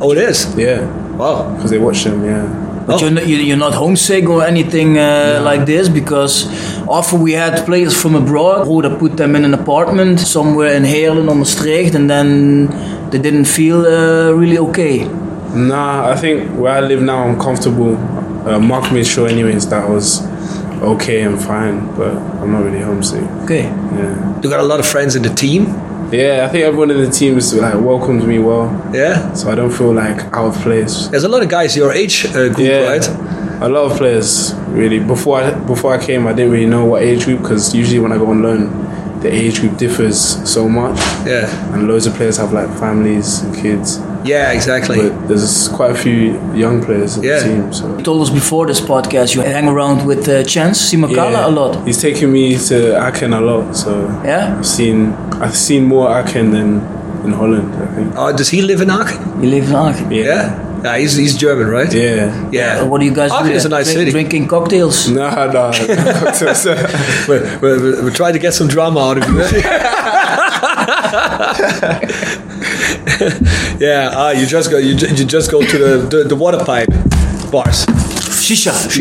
[SPEAKER 1] oh, it is.
[SPEAKER 3] Yeah,
[SPEAKER 1] Wow.
[SPEAKER 3] because they watch them. Yeah,
[SPEAKER 2] But
[SPEAKER 1] Oh.
[SPEAKER 2] you're, not, you- you're not homesick or anything uh, like this because often we had players from abroad who would put them in an apartment somewhere in Heerlen or Maastricht and then they didn't feel uh, really okay.
[SPEAKER 3] nah. I think where I live now, I'm comfortable. Uh, Mark made sure, anyways, that I was okay and fine. But I'm not really homesick.
[SPEAKER 2] Okay.
[SPEAKER 3] Yeah,
[SPEAKER 1] You got a lot of friends in the team.
[SPEAKER 3] yeah. I think everyone in the team is like welcomes me well,
[SPEAKER 1] Yeah.
[SPEAKER 3] so I don't feel like out of place.
[SPEAKER 1] There's a lot of guys your age uh, group,
[SPEAKER 3] Yeah,
[SPEAKER 1] right?
[SPEAKER 3] a lot of players really. Before I before I came, I didn't really know what age group because usually when I go on loan, the age group differs so much.
[SPEAKER 1] Yeah.
[SPEAKER 3] and loads of players have like families and kids.
[SPEAKER 1] Yeah, exactly.
[SPEAKER 3] But there's quite a few young players in
[SPEAKER 1] Yeah.
[SPEAKER 3] the team. So
[SPEAKER 2] You told us before this podcast you hang around with uh, Chance Simakala a lot.
[SPEAKER 3] He's taken me to Aachen a lot, so
[SPEAKER 2] Yeah?
[SPEAKER 3] I've seen I've seen more Aachen than in Holland. I think.
[SPEAKER 1] oh, does he live in Aachen?
[SPEAKER 2] You live in Aachen.
[SPEAKER 1] Yeah. Yeah, he's, he's German, right?
[SPEAKER 3] Yeah.
[SPEAKER 1] Yeah.
[SPEAKER 2] What do you guys
[SPEAKER 1] Aachen
[SPEAKER 2] do?
[SPEAKER 1] is a
[SPEAKER 2] there?
[SPEAKER 1] nice
[SPEAKER 2] Drink-
[SPEAKER 1] city.
[SPEAKER 2] Drinking cocktails.
[SPEAKER 3] <laughs> No, no.
[SPEAKER 1] <laughs>
[SPEAKER 3] <laughs> no.
[SPEAKER 1] We're, we're, we're trying to get some drama out of you. <laughs>
[SPEAKER 3] <laughs>
[SPEAKER 1] yeah, ah, you just go. You, ju- you just go to the, the, the water pipe bars.
[SPEAKER 2] Shisha.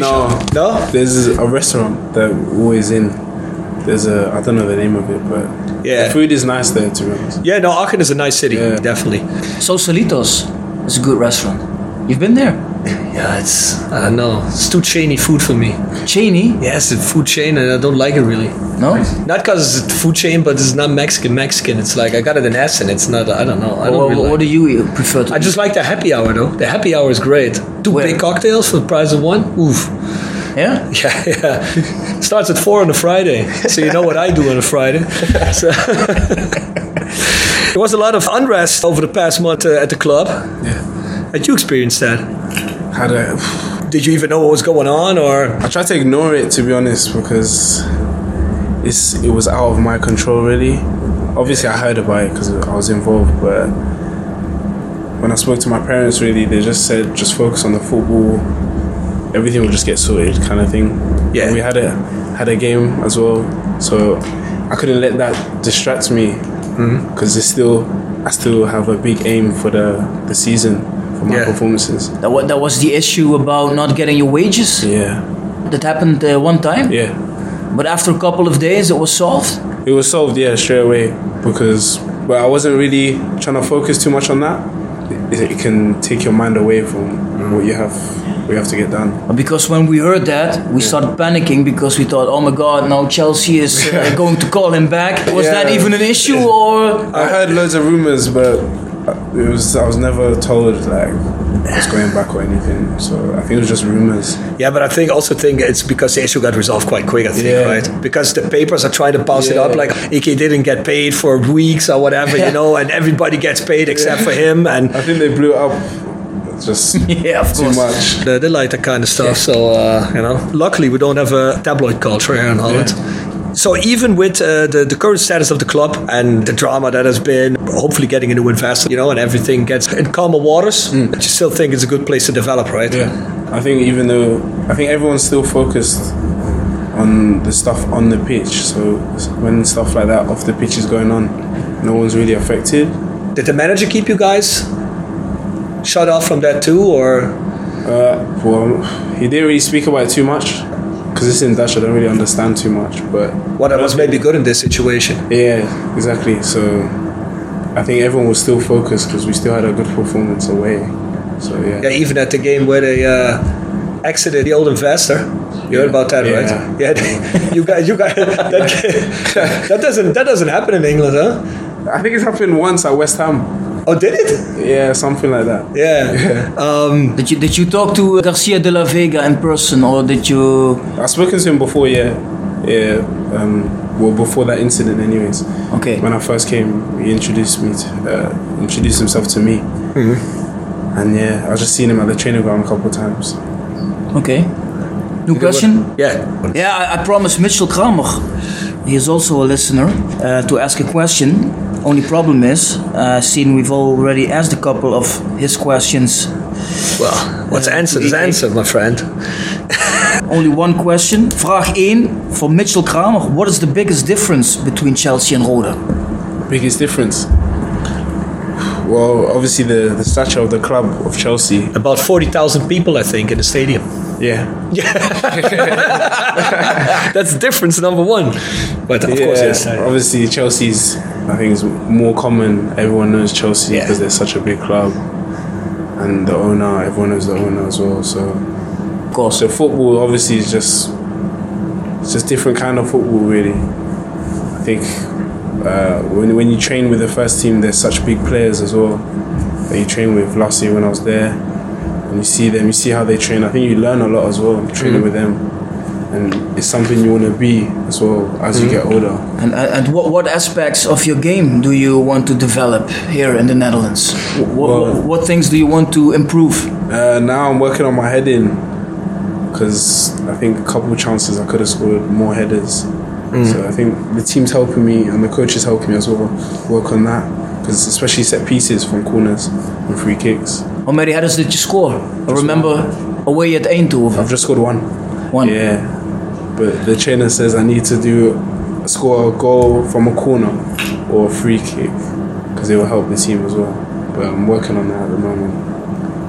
[SPEAKER 3] no.
[SPEAKER 1] No.
[SPEAKER 3] There's a restaurant that we're always in. There's a I don't know the name of it, but
[SPEAKER 1] Yeah.
[SPEAKER 3] the food is nice there to be honest.
[SPEAKER 1] Yeah, no. Aachen is a nice city,
[SPEAKER 3] Yeah.
[SPEAKER 1] definitely.
[SPEAKER 2] Sausalitos is a good restaurant. You've been there?
[SPEAKER 1] Yeah, it's I don't know. It's too chainy food for me.
[SPEAKER 2] Cheney?
[SPEAKER 1] Yeah, it's a food chain, and I don't like it really.
[SPEAKER 2] No?
[SPEAKER 1] Not because it's a food chain, but it's not Mexican. Mexican. It's like I got it in Essen. It's not. I don't know. I don't
[SPEAKER 2] Or,
[SPEAKER 1] really
[SPEAKER 2] what
[SPEAKER 1] like
[SPEAKER 2] do
[SPEAKER 1] it.
[SPEAKER 2] you eat- prefer to
[SPEAKER 1] I just like the happy hour though. The happy hour is great. Two
[SPEAKER 2] Where?
[SPEAKER 1] big cocktails for the price of one. Oof. <laughs>
[SPEAKER 2] eat? Yeah?
[SPEAKER 1] Yeah, yeah. Starts at four on a Friday, so you know what I do on a Friday. <laughs> So there was a lot of unrest over the past month uh, at the club.
[SPEAKER 3] Yeah.
[SPEAKER 1] Had you experienced that?
[SPEAKER 3] Had a
[SPEAKER 1] Did you even know what was going on, or
[SPEAKER 3] I try to ignore it to be honest because it's it was out of my control really. Obviously, I heard about it because I was involved, but when I spoke to my parents, really, they just said just focus on the football. Everything will just get sorted, kind of thing.
[SPEAKER 1] Yeah.
[SPEAKER 3] And we had a had a game as well, so I couldn't let that distract me
[SPEAKER 1] Mm-hmm.
[SPEAKER 3] because it's still I still have a big aim for the the season for my
[SPEAKER 1] Yeah.
[SPEAKER 3] performances.
[SPEAKER 2] That, wa- that was the issue about not getting your wages?
[SPEAKER 3] Yeah,
[SPEAKER 2] That happened uh, one time?
[SPEAKER 3] yeah.
[SPEAKER 2] But after a couple of days, it was solved?
[SPEAKER 3] It was solved, yeah, straight away because, but I wasn't really trying to focus too much on that. It, it can take your mind away from what you have, what you have to get done.
[SPEAKER 2] Because when we heard that, we started panicking because we thought, oh my god, now Chelsea is uh, going to call him back. Was that
[SPEAKER 3] Yeah.
[SPEAKER 2] even an issue or
[SPEAKER 3] I heard loads of rumors, but it was I was never told like I was going back or anything. So I think it was just rumors.
[SPEAKER 1] yeah? But I think also think it's because the issue got resolved quite quick. I think
[SPEAKER 3] Yeah.
[SPEAKER 1] right because the papers are trying to bounce it up
[SPEAKER 3] Yeah.
[SPEAKER 1] like Ike didn't get paid for weeks or whatever, you know, and everybody gets paid except for him, and
[SPEAKER 3] I think they blew it up just
[SPEAKER 2] <laughs> Yeah, of
[SPEAKER 3] too
[SPEAKER 2] course.
[SPEAKER 3] much.
[SPEAKER 1] they, they like that kind of stuff. So uh, you know, luckily we don't have a tabloid culture here in Holland. So even with uh, the, the current status of the club and the drama that has been, hopefully getting a new investor, you know, and everything gets in calmer waters, but you still think it's a good place to develop, right?
[SPEAKER 3] Mm. Yeah, I think even though I think everyone's still focused on the stuff on the pitch, so when stuff like that off the pitch is going on, no one's really affected.
[SPEAKER 1] Did the manager keep you guys shut off from that too, or
[SPEAKER 3] Uh, well, he didn't really speak about it too much because it's in Dutch. I don't really understand too much, but
[SPEAKER 1] what was maybe good in this situation?
[SPEAKER 3] yeah, exactly. So I think everyone was still focused because we still had a good performance away. So yeah,
[SPEAKER 1] Yeah, even at the game where they uh, exited the old investor. You heard about that,
[SPEAKER 3] Yeah.
[SPEAKER 1] right? Yeah, <laughs> they- you guys, you guys, <laughs> that, that doesn't that doesn't happen in England, huh?
[SPEAKER 3] I think it's happened once at West Ham.
[SPEAKER 1] Oh, did it?
[SPEAKER 3] Yeah, something like that.
[SPEAKER 1] Yeah. Um,
[SPEAKER 2] Did you, did you talk to uh, Garcia de la Vega in person or did you.
[SPEAKER 3] I've spoken to him before, yeah. Yeah. Um, well, before that incident, anyways.
[SPEAKER 2] Okay.
[SPEAKER 3] When I first came, he introduced me, to, uh, introduced himself to me. And yeah, I've just seen him at the training ground a couple of times.
[SPEAKER 2] Okay. New question?
[SPEAKER 1] yeah.
[SPEAKER 2] Yeah, I, I promised Mitchell Kramer, he is also a listener, uh, to ask a question. Only problem is, uh, seeing we've already asked a couple of his questions,
[SPEAKER 1] Well, what's answered is answered, my friend.
[SPEAKER 2] only one question. Vraag 1 for Mitchell Kramer. What is the biggest difference between Chelsea and Roda?
[SPEAKER 3] Biggest difference? Well, obviously the, the stature of the club of Chelsea.
[SPEAKER 1] About forty thousand people, I think, in the stadium.
[SPEAKER 3] Yeah.
[SPEAKER 1] That's difference number one. But of
[SPEAKER 3] yeah.
[SPEAKER 1] course, yes.
[SPEAKER 3] Obviously Chelsea's, I think, is more common. Everyone knows Chelsea
[SPEAKER 1] Yeah.
[SPEAKER 3] because they're such a big club. And the owner, everyone knows the owner as well. So
[SPEAKER 2] Of course.
[SPEAKER 3] So football obviously is just it's just different kind of football really. I think uh, when when you train with the first team, there's such big players as well that you train with. Last year when I was there, and you see them, you see how they train. I think you learn a lot as well training with them, and it's something you want to be as well as you get older.
[SPEAKER 2] And, and and what, what aspects of your game do you want to develop here in the Netherlands? What,
[SPEAKER 3] Well-
[SPEAKER 2] what, what things do you want to improve?
[SPEAKER 3] Uh, now I'm working on my heading because I think a couple of chances I could have scored more headers. So I think the team's helping me and the coach is helping me as well work on that because especially set pieces from corners and free kicks.
[SPEAKER 2] How many headers did you score? I remember away at Eindhoven.
[SPEAKER 3] I've just scored one.
[SPEAKER 2] One.
[SPEAKER 3] Yeah. But the trainer says I need to do score a goal from a corner or a free kick because it will help the team as well. But I'm working on that at the moment.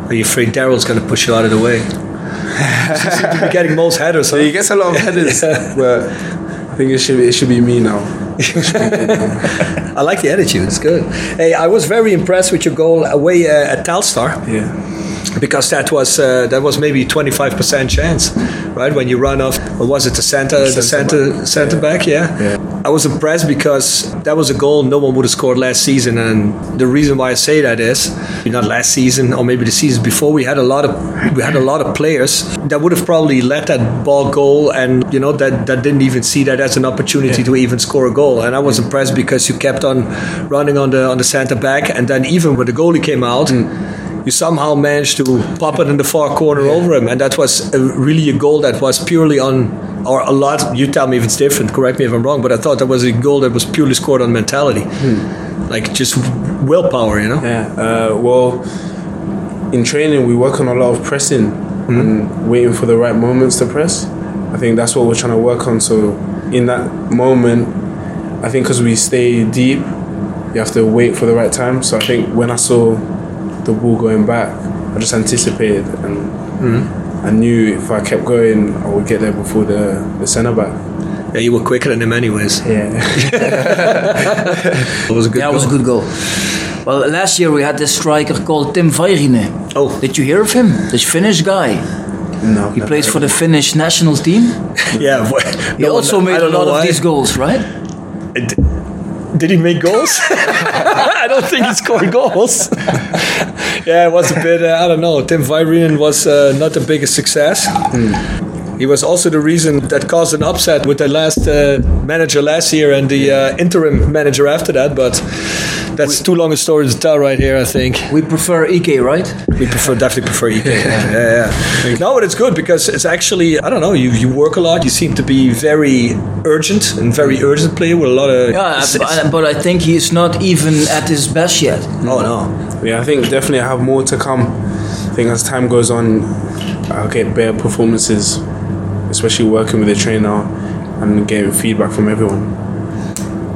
[SPEAKER 1] Are you afraid Daryl's going to push you out of the way? <laughs> You're getting most headers, huh?
[SPEAKER 3] But he gets a lot of <laughs> headers, but I think it should it should be me now.
[SPEAKER 1] I like the attitude. It's good. Hey, I was very impressed with your goal away uh, at Telstar
[SPEAKER 3] Yeah.
[SPEAKER 1] because that was uh, that was maybe 25% chance, right? When you run off, what was it the center, the
[SPEAKER 3] Centre
[SPEAKER 1] center,
[SPEAKER 3] back.
[SPEAKER 1] center back? Yeah.
[SPEAKER 3] Yeah.
[SPEAKER 1] I was impressed because that was a goal no one would have scored last season, and the reason why I say that is not last season or maybe the season before we had a lot of we had a lot of players that would have probably let that ball go, and you know that that didn't even see that as an opportunity to even score a goal. And I was impressed because you kept on running on the on the center back, and then even when the goalie came out. You somehow managed to pop it in the far corner over him, and that was a, really a goal that was purely on or a lot. You tell me if it's different. Correct me if I'm wrong, but I thought that was a goal that was purely scored on mentality,
[SPEAKER 2] Hmm.
[SPEAKER 1] like just willpower. You know,
[SPEAKER 3] Yeah. Uh, well, in training, we work on a lot of pressing
[SPEAKER 2] Mm-hmm.
[SPEAKER 3] and waiting for the right moments to press. I think that's what we're trying to work on. So, in that moment, I think because we stay deep, you have to wait for the right time. So, I think when I saw the ball going back, I just anticipated and
[SPEAKER 2] Mm-hmm.
[SPEAKER 3] I knew if I kept going, I would get there before the, the centre back.
[SPEAKER 1] yeah, you were quicker than him anyways.
[SPEAKER 3] Yeah.
[SPEAKER 1] It was a good.
[SPEAKER 2] Yeah, it was a
[SPEAKER 1] goal.
[SPEAKER 2] good goal. Well, last year we had this striker called Tim Vairinen. <laughs>
[SPEAKER 1] Oh.
[SPEAKER 2] Did you hear of him? This Finnish guy.
[SPEAKER 3] <laughs> no.
[SPEAKER 2] He plays for the Finnish national team.
[SPEAKER 1] Yeah, <laughs> well,
[SPEAKER 2] He
[SPEAKER 1] no,
[SPEAKER 2] also
[SPEAKER 1] no, I
[SPEAKER 2] made a
[SPEAKER 1] don't know
[SPEAKER 2] lot of
[SPEAKER 1] why.
[SPEAKER 2] these goals, right?
[SPEAKER 1] Did he make goals? <laughs> I don't think he scored goals. <laughs> yeah, it was a bit. Uh, I don't know. Tim Virinen was uh, not the biggest success. He was also the reason that caused an upset with the last uh, manager last year and the uh, interim manager after that. But that's too long a story to tell right here. I think
[SPEAKER 2] We prefer
[SPEAKER 1] E
[SPEAKER 2] EK, right?
[SPEAKER 1] we prefer definitely prefer EK. Yeah, yeah. yeah. No, but it's good because it's actually I don't know. You you work a lot. You seem to be very urgent and very urgent player with a lot of.
[SPEAKER 2] Yeah,
[SPEAKER 1] it's- it's-
[SPEAKER 2] but- but I think he is not even at his best yet.
[SPEAKER 1] oh no.
[SPEAKER 3] Yeah, I think definitely I have more to come. I think as time goes on, I'll get better performances, especially working with a trainer and getting feedback from everyone.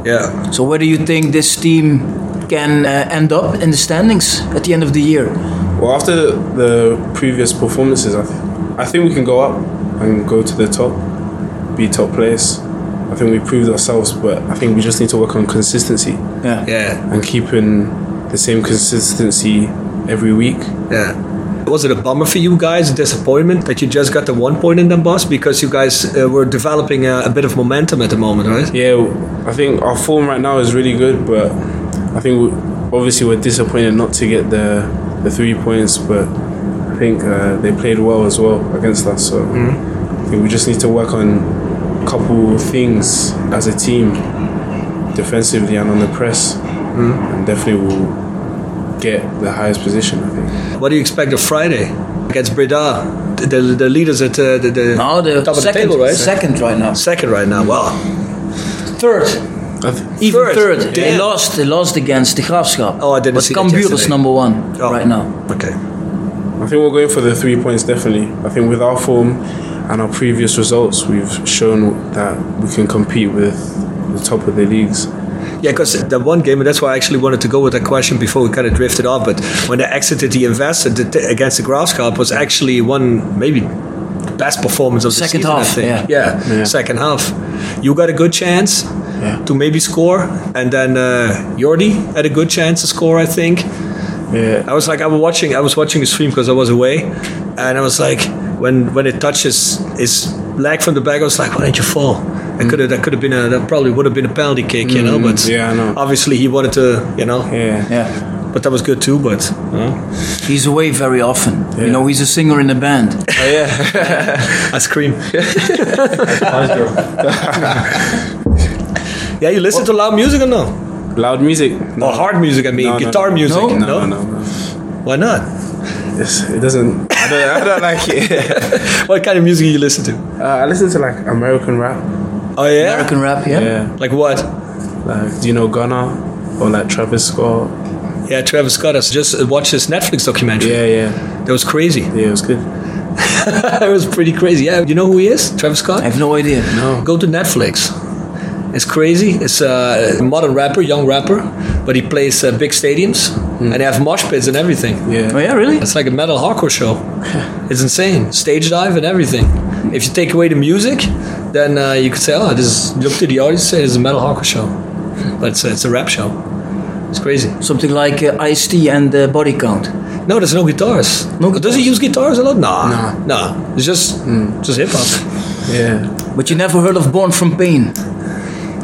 [SPEAKER 1] Yeah.
[SPEAKER 2] So where do you think this team can uh, end up in the standings at the end of the year?
[SPEAKER 3] Well, after the previous performances, I, th- I think we can go up and go to the top, be top place. I think we proved ourselves, but I think we just need to work on consistency
[SPEAKER 2] Yeah.
[SPEAKER 1] Yeah,
[SPEAKER 3] and keeping the same consistency every week.
[SPEAKER 1] yeah. Was it a bummer for you guys, a disappointment that you just got the one point in Den Bosch because you guys uh, were developing a, a bit of momentum at the moment, right?
[SPEAKER 3] Yeah, I think our form right now is really good, but I think we, obviously we're disappointed not to get the the three points. But I think uh, they played well as well against us, so I think we just need to work on a couple things as a team, defensively and on the press, and definitely we'll get the highest position. I think.
[SPEAKER 1] What do you expect of Friday against Breda? The, the, the leaders at uh, the, the
[SPEAKER 2] Now the
[SPEAKER 1] top of the
[SPEAKER 2] second,
[SPEAKER 1] table, right?
[SPEAKER 2] second right now.
[SPEAKER 1] Second right now. Wow.
[SPEAKER 2] Third,
[SPEAKER 3] I th-
[SPEAKER 2] even
[SPEAKER 1] Third?
[SPEAKER 2] third. They
[SPEAKER 1] Damn.
[SPEAKER 2] lost. They lost against the Graafschap.
[SPEAKER 1] Oh, I didn't
[SPEAKER 2] but
[SPEAKER 1] see that
[SPEAKER 2] Cambuur is
[SPEAKER 1] yesterday.
[SPEAKER 2] number one
[SPEAKER 1] Oh.
[SPEAKER 2] right now.
[SPEAKER 1] Okay.
[SPEAKER 3] I think we're going for the three points definitely. I think with our form and our previous results, we've shown that we can compete with the top of the leagues.
[SPEAKER 1] Yeah, because that one game, and that's why I actually wanted to go with that question before we kind of drifted off. But when they exited the investor the, the- against the Graafschap was actually one maybe best performance of the
[SPEAKER 2] Second
[SPEAKER 1] season, I
[SPEAKER 2] half,
[SPEAKER 1] think.
[SPEAKER 2] yeah.
[SPEAKER 1] Yeah,
[SPEAKER 3] Yeah.
[SPEAKER 1] second half. You got a good chance
[SPEAKER 3] Yeah.
[SPEAKER 1] to maybe score, and then uh, Jordi had a good chance to score, I think.
[SPEAKER 3] Yeah,
[SPEAKER 1] I was like, I was watching, I was watching the stream because I was away, and I was like, when when it touches his leg from the back, I was like, why didn't you fall? That could have, that could have been a, that probably would have been a penalty kick, you know. But
[SPEAKER 3] Mm, yeah, I know.
[SPEAKER 1] obviously he wanted to, you know.
[SPEAKER 3] yeah,
[SPEAKER 2] Yeah,
[SPEAKER 1] But that was good too. But
[SPEAKER 2] he's away very often. You
[SPEAKER 3] Yeah.
[SPEAKER 2] know, he's a singer in a band.
[SPEAKER 3] Oh, yeah.
[SPEAKER 1] I scream. yeah, you listen to loud music or no?
[SPEAKER 3] Loud music.
[SPEAKER 1] Or hard music? I mean,
[SPEAKER 3] No, no,
[SPEAKER 1] guitar
[SPEAKER 3] no.
[SPEAKER 1] music.
[SPEAKER 2] No?
[SPEAKER 3] No, no, no.
[SPEAKER 1] Why not?
[SPEAKER 3] It's, it doesn't. I don't, I don't like it. <laughs>
[SPEAKER 1] What kind of music do you listen to?
[SPEAKER 3] Uh, I listen to like American rap.
[SPEAKER 1] Oh yeah,
[SPEAKER 2] American rap, yeah.
[SPEAKER 3] Yeah,
[SPEAKER 1] like what?
[SPEAKER 3] like do you know Gunna or like Travis Scott?
[SPEAKER 1] Yeah, Travis Scott. I just watched this Netflix documentary.
[SPEAKER 3] Yeah, yeah,
[SPEAKER 1] That was crazy. <laughs>
[SPEAKER 3] yeah. It was good.
[SPEAKER 1] it was pretty crazy. Yeah, you know who he is? Travis Scott.
[SPEAKER 2] I have no idea.
[SPEAKER 1] Go to Netflix. It's crazy. It's a modern rapper, young rapper, but he plays uh, big stadiums and they have mosh pits and everything.
[SPEAKER 3] Yeah.
[SPEAKER 2] Oh yeah, really?
[SPEAKER 1] It's like a metal hardcore show. It's insane. Stage dive and everything. If you take away the music, then uh, you could say, oh, this is, look to the audience, say it's a metal hardcore show. But it's a, it's a rap show. It's crazy.
[SPEAKER 2] Something like uh, Ice T and uh, Body Count.
[SPEAKER 1] No, there's no guitars.
[SPEAKER 2] No
[SPEAKER 1] Does he
[SPEAKER 2] guitars.
[SPEAKER 1] use guitars a lot? Nah. Nah. It's just, just hip hop.
[SPEAKER 3] Yeah.
[SPEAKER 2] But you never heard of Born from Pain?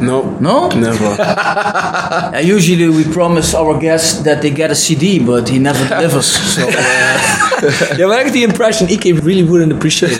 [SPEAKER 3] Nope.
[SPEAKER 2] No?
[SPEAKER 3] Never.
[SPEAKER 2] Uh, usually we promise our guests that they get a CD, but he never <laughs> delivers. So uh,
[SPEAKER 1] yeah, but I get the impression Ike really wouldn't appreciate it.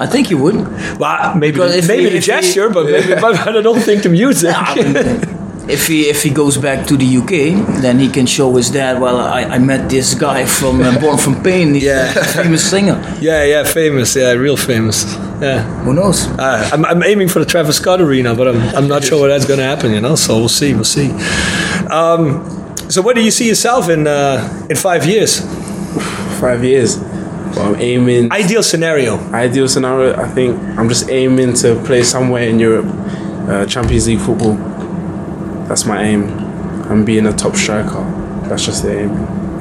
[SPEAKER 2] I think you would.
[SPEAKER 1] Well, maybe
[SPEAKER 2] Because
[SPEAKER 1] the,
[SPEAKER 2] if
[SPEAKER 1] maybe
[SPEAKER 2] we-
[SPEAKER 1] the
[SPEAKER 2] if we-
[SPEAKER 1] gesture, but <laughs> maybe but I don't think the music.
[SPEAKER 2] <laughs> If he if he goes back to the UK, then he can show his dad. Well, I, I met this guy from uh, Born from Pain. He's
[SPEAKER 1] Yeah.
[SPEAKER 2] a famous singer.
[SPEAKER 1] <laughs> yeah, yeah, famous. Yeah, real famous. Yeah,
[SPEAKER 2] Who knows?
[SPEAKER 1] uh, I'm, I'm aiming for the Travis Scott arena, but I'm, I'm not sure where that's going to happen. You know, so we'll see. We'll see. Um, so, where do you see yourself in uh, in five years?
[SPEAKER 3] Five years. But I'm aiming.
[SPEAKER 1] Ideal scenario.
[SPEAKER 3] ideal scenario, I think I'm just aiming to play somewhere in Europe, uh, Champions League football. That's my aim. I'm being a top striker. That's just the aim.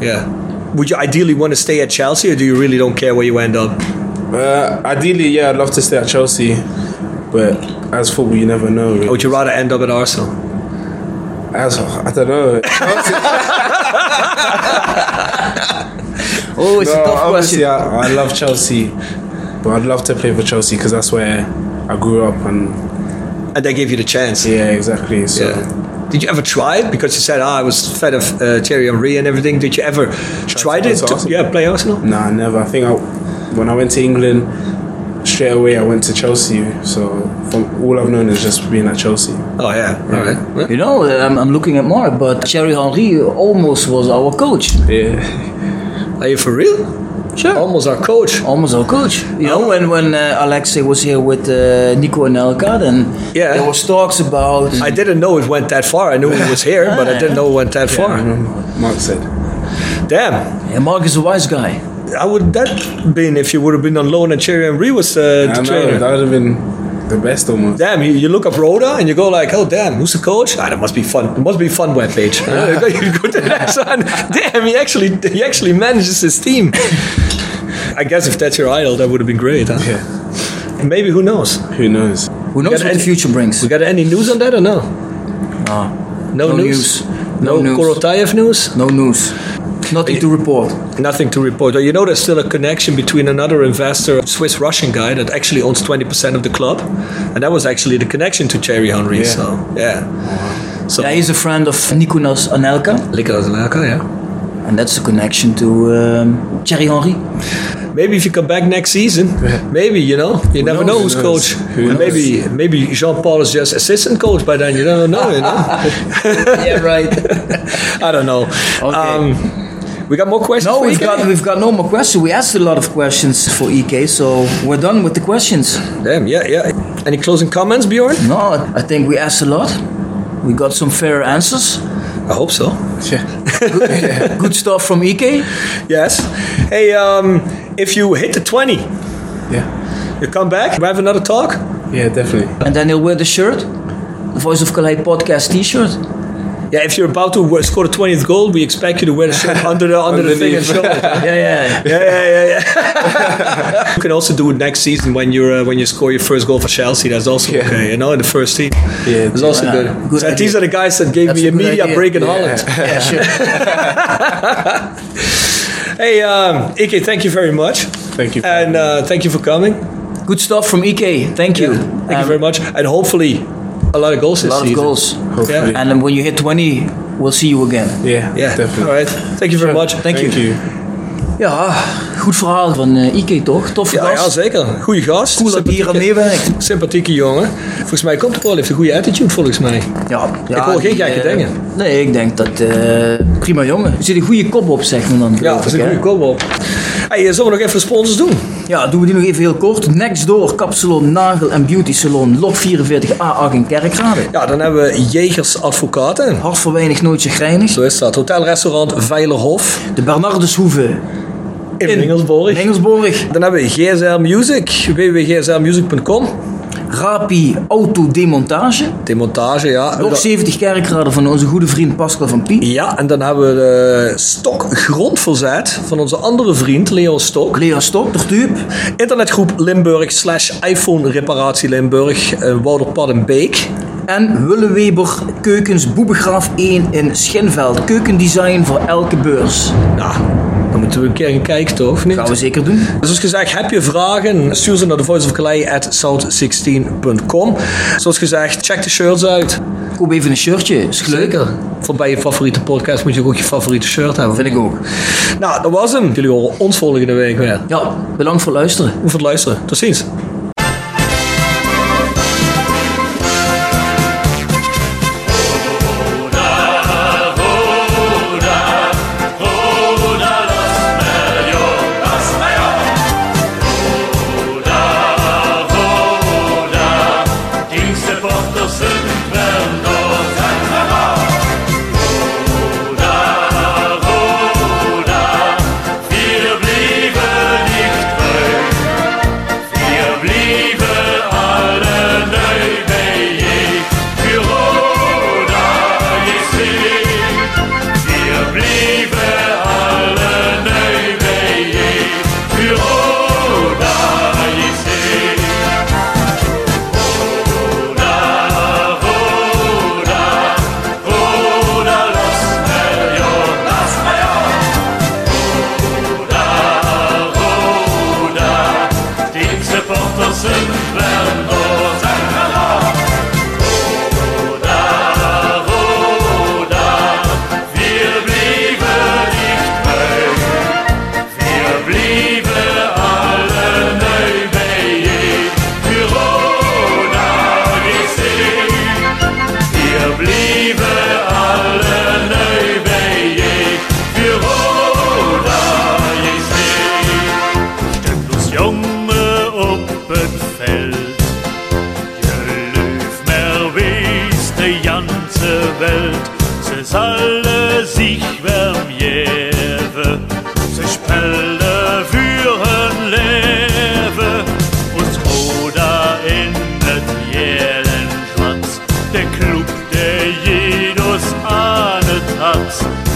[SPEAKER 1] Yeah. Would you ideally want to stay at Chelsea, or do you really don't care where you end up?
[SPEAKER 3] Uh, ideally, yeah, I'd love to stay at Chelsea, but as football, you never know.
[SPEAKER 1] Or would you rather end up at Arsenal?
[SPEAKER 3] As I
[SPEAKER 2] <laughs>
[SPEAKER 3] don't know.
[SPEAKER 2] Oh, it's
[SPEAKER 3] no,
[SPEAKER 2] a tough
[SPEAKER 3] obviously,
[SPEAKER 2] question.
[SPEAKER 3] I, I love Chelsea, but I'd love to play for Chelsea because that's where I grew up and
[SPEAKER 1] And they gave you the chance.
[SPEAKER 3] yeah, exactly. So.
[SPEAKER 1] Yeah. Did you ever try it? Because you said, ah, I was fed of uh, Thierry Henry and everything. Did you ever try,
[SPEAKER 3] to
[SPEAKER 1] it?
[SPEAKER 3] go to
[SPEAKER 1] to-
[SPEAKER 3] Arsenal?
[SPEAKER 1] yeah, play Arsenal?
[SPEAKER 3] Nah, never. I think I, when I went to England, straight away I went to Chelsea. So from all I've known is just being at Chelsea.
[SPEAKER 1] Oh, yeah. All right.
[SPEAKER 2] You know, uh, I'm, I'm looking at Mark, but Thierry Henry almost was our coach.
[SPEAKER 3] Yeah,
[SPEAKER 1] Are you for real?
[SPEAKER 2] Sure.
[SPEAKER 1] Almost our coach.
[SPEAKER 2] Almost our coach. You know, when when uh, Alexei was here with uh, Nico and Elka, then
[SPEAKER 1] Yeah.
[SPEAKER 2] there was talks about.
[SPEAKER 1] I didn't know it went that far. I knew it was here, but I didn't know it went that far.
[SPEAKER 3] <laughs> Mark said.
[SPEAKER 1] Damn.
[SPEAKER 2] Yeah, Mark is a wise guy.
[SPEAKER 1] How would that been if you would have been on loan and Thierry Henry was uh,
[SPEAKER 3] I
[SPEAKER 1] the
[SPEAKER 3] know,
[SPEAKER 1] trainer?
[SPEAKER 3] that would have been the best almost.
[SPEAKER 1] Damn, you, you look up Roda and you go like, oh damn, who's the coach? Ah, that must be fun. It must be fun webpage. Uh, you go to the <laughs> next one. Damn, he actually he actually manages his team. I guess if that's your idol, that would have been great. Huh?
[SPEAKER 3] Yeah.
[SPEAKER 1] Maybe who knows?
[SPEAKER 3] Who knows?
[SPEAKER 2] Who knows
[SPEAKER 1] Yeah,
[SPEAKER 2] what
[SPEAKER 1] and-
[SPEAKER 2] the future brings?
[SPEAKER 1] We got any news on that or no?
[SPEAKER 2] Ah,
[SPEAKER 1] No,
[SPEAKER 2] No
[SPEAKER 1] news.
[SPEAKER 2] news. No
[SPEAKER 1] no
[SPEAKER 2] news.
[SPEAKER 1] Korotayev news.
[SPEAKER 2] no news. Nothing to report.
[SPEAKER 1] Nothing to report. You know, there's still a connection between another investor, a Swiss Russian guy that actually owns 20% of the club, and that was actually the connection to Thierry Henry.
[SPEAKER 3] Yeah.
[SPEAKER 1] So yeah, so
[SPEAKER 2] Yeah, he's a friend of Nikolas Anelka,
[SPEAKER 1] Liga Zelaka, yeah.
[SPEAKER 2] and that's a connection to um, Thierry Henry.
[SPEAKER 1] Maybe if you come back next season, maybe you know you never know who's
[SPEAKER 3] knows? Who
[SPEAKER 1] coach.
[SPEAKER 3] knows? Who knows?
[SPEAKER 1] Maybe maybe Jean Paul is just assistant coach by then. You don't know, <laughs> you know.
[SPEAKER 2] yeah, right. <laughs>
[SPEAKER 1] I don't know. Um, we got more questions.
[SPEAKER 2] No,
[SPEAKER 1] for
[SPEAKER 2] Oh, we've
[SPEAKER 1] you,
[SPEAKER 2] got
[SPEAKER 1] Kenny?
[SPEAKER 2] we've got no more questions. We asked a lot of questions for EK, so we're done with the questions.
[SPEAKER 1] Damn, yeah, yeah. Any closing comments, Bjorn?
[SPEAKER 2] No, I think we asked a lot. We got some fair answers.
[SPEAKER 1] I hope so.
[SPEAKER 2] Good stuff from E EK.
[SPEAKER 1] Yes. Hey, um, if you hit the twenty,
[SPEAKER 3] <laughs> Yeah.
[SPEAKER 1] you come back. We have another talk.
[SPEAKER 3] Yeah, definitely.
[SPEAKER 2] And then he'll wear the shirt, the Voice of Calais podcast t-shirt.
[SPEAKER 1] Yeah, if you're about to w- score the twentieth goal, we expect you to wear the
[SPEAKER 2] <laughs>
[SPEAKER 1] shirt under the under the thing and
[SPEAKER 3] Underneath.
[SPEAKER 1] show it.
[SPEAKER 2] Yeah, <laughs> yeah.
[SPEAKER 1] Yeah, yeah, yeah, yeah. <laughs> you can also do it next season when you're uh, when you score your first goal for Chelsea. That's also
[SPEAKER 3] Yeah.
[SPEAKER 1] okay, you know, in the first team.
[SPEAKER 3] Yeah,
[SPEAKER 1] it's also
[SPEAKER 2] yeah.
[SPEAKER 1] good.
[SPEAKER 2] Good
[SPEAKER 1] So these
[SPEAKER 2] idea.
[SPEAKER 1] are the guys that gave
[SPEAKER 2] That's
[SPEAKER 1] me a
[SPEAKER 2] a good
[SPEAKER 1] media
[SPEAKER 2] idea.
[SPEAKER 1] break in
[SPEAKER 2] Yeah.
[SPEAKER 1] Holland.
[SPEAKER 2] <laughs> yeah sure.
[SPEAKER 1] Hey, um, Ike, thank you very much,
[SPEAKER 3] Thank you.
[SPEAKER 1] and uh, thank you for coming.
[SPEAKER 2] Good stuff from EK. Thank you.
[SPEAKER 1] Thank you
[SPEAKER 2] Um,
[SPEAKER 1] very much, and hopefully a lot of goals
[SPEAKER 2] A
[SPEAKER 1] this
[SPEAKER 2] lot of
[SPEAKER 1] season.
[SPEAKER 2] goals.
[SPEAKER 3] Hopefully.
[SPEAKER 2] And then when you hit 20, we'll see you again.
[SPEAKER 3] Yeah,
[SPEAKER 1] Yeah,
[SPEAKER 3] definitely.
[SPEAKER 1] all right. Thank you very much.
[SPEAKER 2] Thank you.
[SPEAKER 3] Thank you.
[SPEAKER 2] Ja, goed verhaal van eh, Ike toch? Toffe
[SPEAKER 1] Ja, ja,
[SPEAKER 2] gast.
[SPEAKER 1] zeker. Goeie gast.
[SPEAKER 2] Cool dat hij hier aan meewerkt.
[SPEAKER 1] Sympathieke jongen. Volgens mij komt het wel. Heeft een goede attitude, volgens mij.
[SPEAKER 2] Ja, ja,
[SPEAKER 1] hoor geen
[SPEAKER 2] die,
[SPEAKER 1] gekke
[SPEAKER 2] eh,
[SPEAKER 1] dingen.
[SPEAKER 2] Nee, ik denk dat... eh, prima jongen. Er zit een goede kop op, zegt men dan.
[SPEAKER 1] Ja,
[SPEAKER 2] geloof
[SPEAKER 1] dat is
[SPEAKER 2] ik,
[SPEAKER 1] een
[SPEAKER 2] hè?
[SPEAKER 1] goede kop op. Hey, eh, zullen we nog even sponsors doen?
[SPEAKER 2] Ja, doen we die nog even heel kort. Next Door, Kapsalon, Nagel en Beauty Salon, Lok 44 A8 in Kerkrade.
[SPEAKER 1] Ja, dan hebben we Jegers Advocaten.
[SPEAKER 2] Hart voor weinig, nooit chagrijnig.
[SPEAKER 1] Zo is dat. Hotelrestaurant Veilerhof
[SPEAKER 2] De Bernardeshoeve
[SPEAKER 1] in,
[SPEAKER 2] in
[SPEAKER 1] Engelsborg.
[SPEAKER 2] Engelsborg.
[SPEAKER 1] Dan hebben we GSL Music, www.gsrmusic.com.
[SPEAKER 2] Rapi Autodemontage.
[SPEAKER 1] Demontage, ja.
[SPEAKER 2] Lok 70 Kerkrade van onze goede vriend Pascal van Pie.
[SPEAKER 1] Ja, en dan hebben we de Stok Grondverzet van onze andere vriend Leon Stok.
[SPEAKER 2] Leo Stok, de Tuup.
[SPEAKER 1] Internetgroep Limburg slash iPhone Reparatie Limburg, eh, Wouderpad en Beek.
[SPEAKER 2] En Wille Weber Keukens Boebegraaf 1 in Schinveld. Keukendesign voor elke beurs.
[SPEAKER 1] Nou, dan moeten we een keer gaan kijken toch? of niet? Dus
[SPEAKER 2] Gaan we zeker doen.
[SPEAKER 1] Zoals gezegd, heb je vragen? Stuur ze naar de Voice of Calais at south16.com. Zoals gezegd, check de shirts uit.
[SPEAKER 2] Koop even een shirtje, is leuk.
[SPEAKER 1] Voor bij je favoriete podcast moet je ook je favoriete shirt hebben.
[SPEAKER 2] Vind ik ook.
[SPEAKER 1] Nou, dat was hem. Jullie horen ons volgende week weer.
[SPEAKER 2] Ja, bedankt voor het luisteren.
[SPEAKER 1] Bedankt voor het luisteren. Tot ziens.
[SPEAKER 4] Wir blieben nicht ruhig, wir blieben alle neu bejagt. Für Roda Jesu, wir blieben alle neu bejagt. Für Roda Jesu. Roda, Roda, Roda, lass mir ja, lass mir ja. Roda, die supporters in Venlo zijn verhaal. Roda, Roda, wir blieben nicht ruhig. Wir blieben alle neu bijeen. Für Roda gezien. Wir blieben alle neu bijeen. Für Roda gezien. Stemlos jongen op het veld. Je leuf mer wees de ganze Welt. Ze zalle zich werm jewe. Ze spelle voor hun leven. Ons roda in het jelen schwarz. Der Club, der jedes ahnet hat.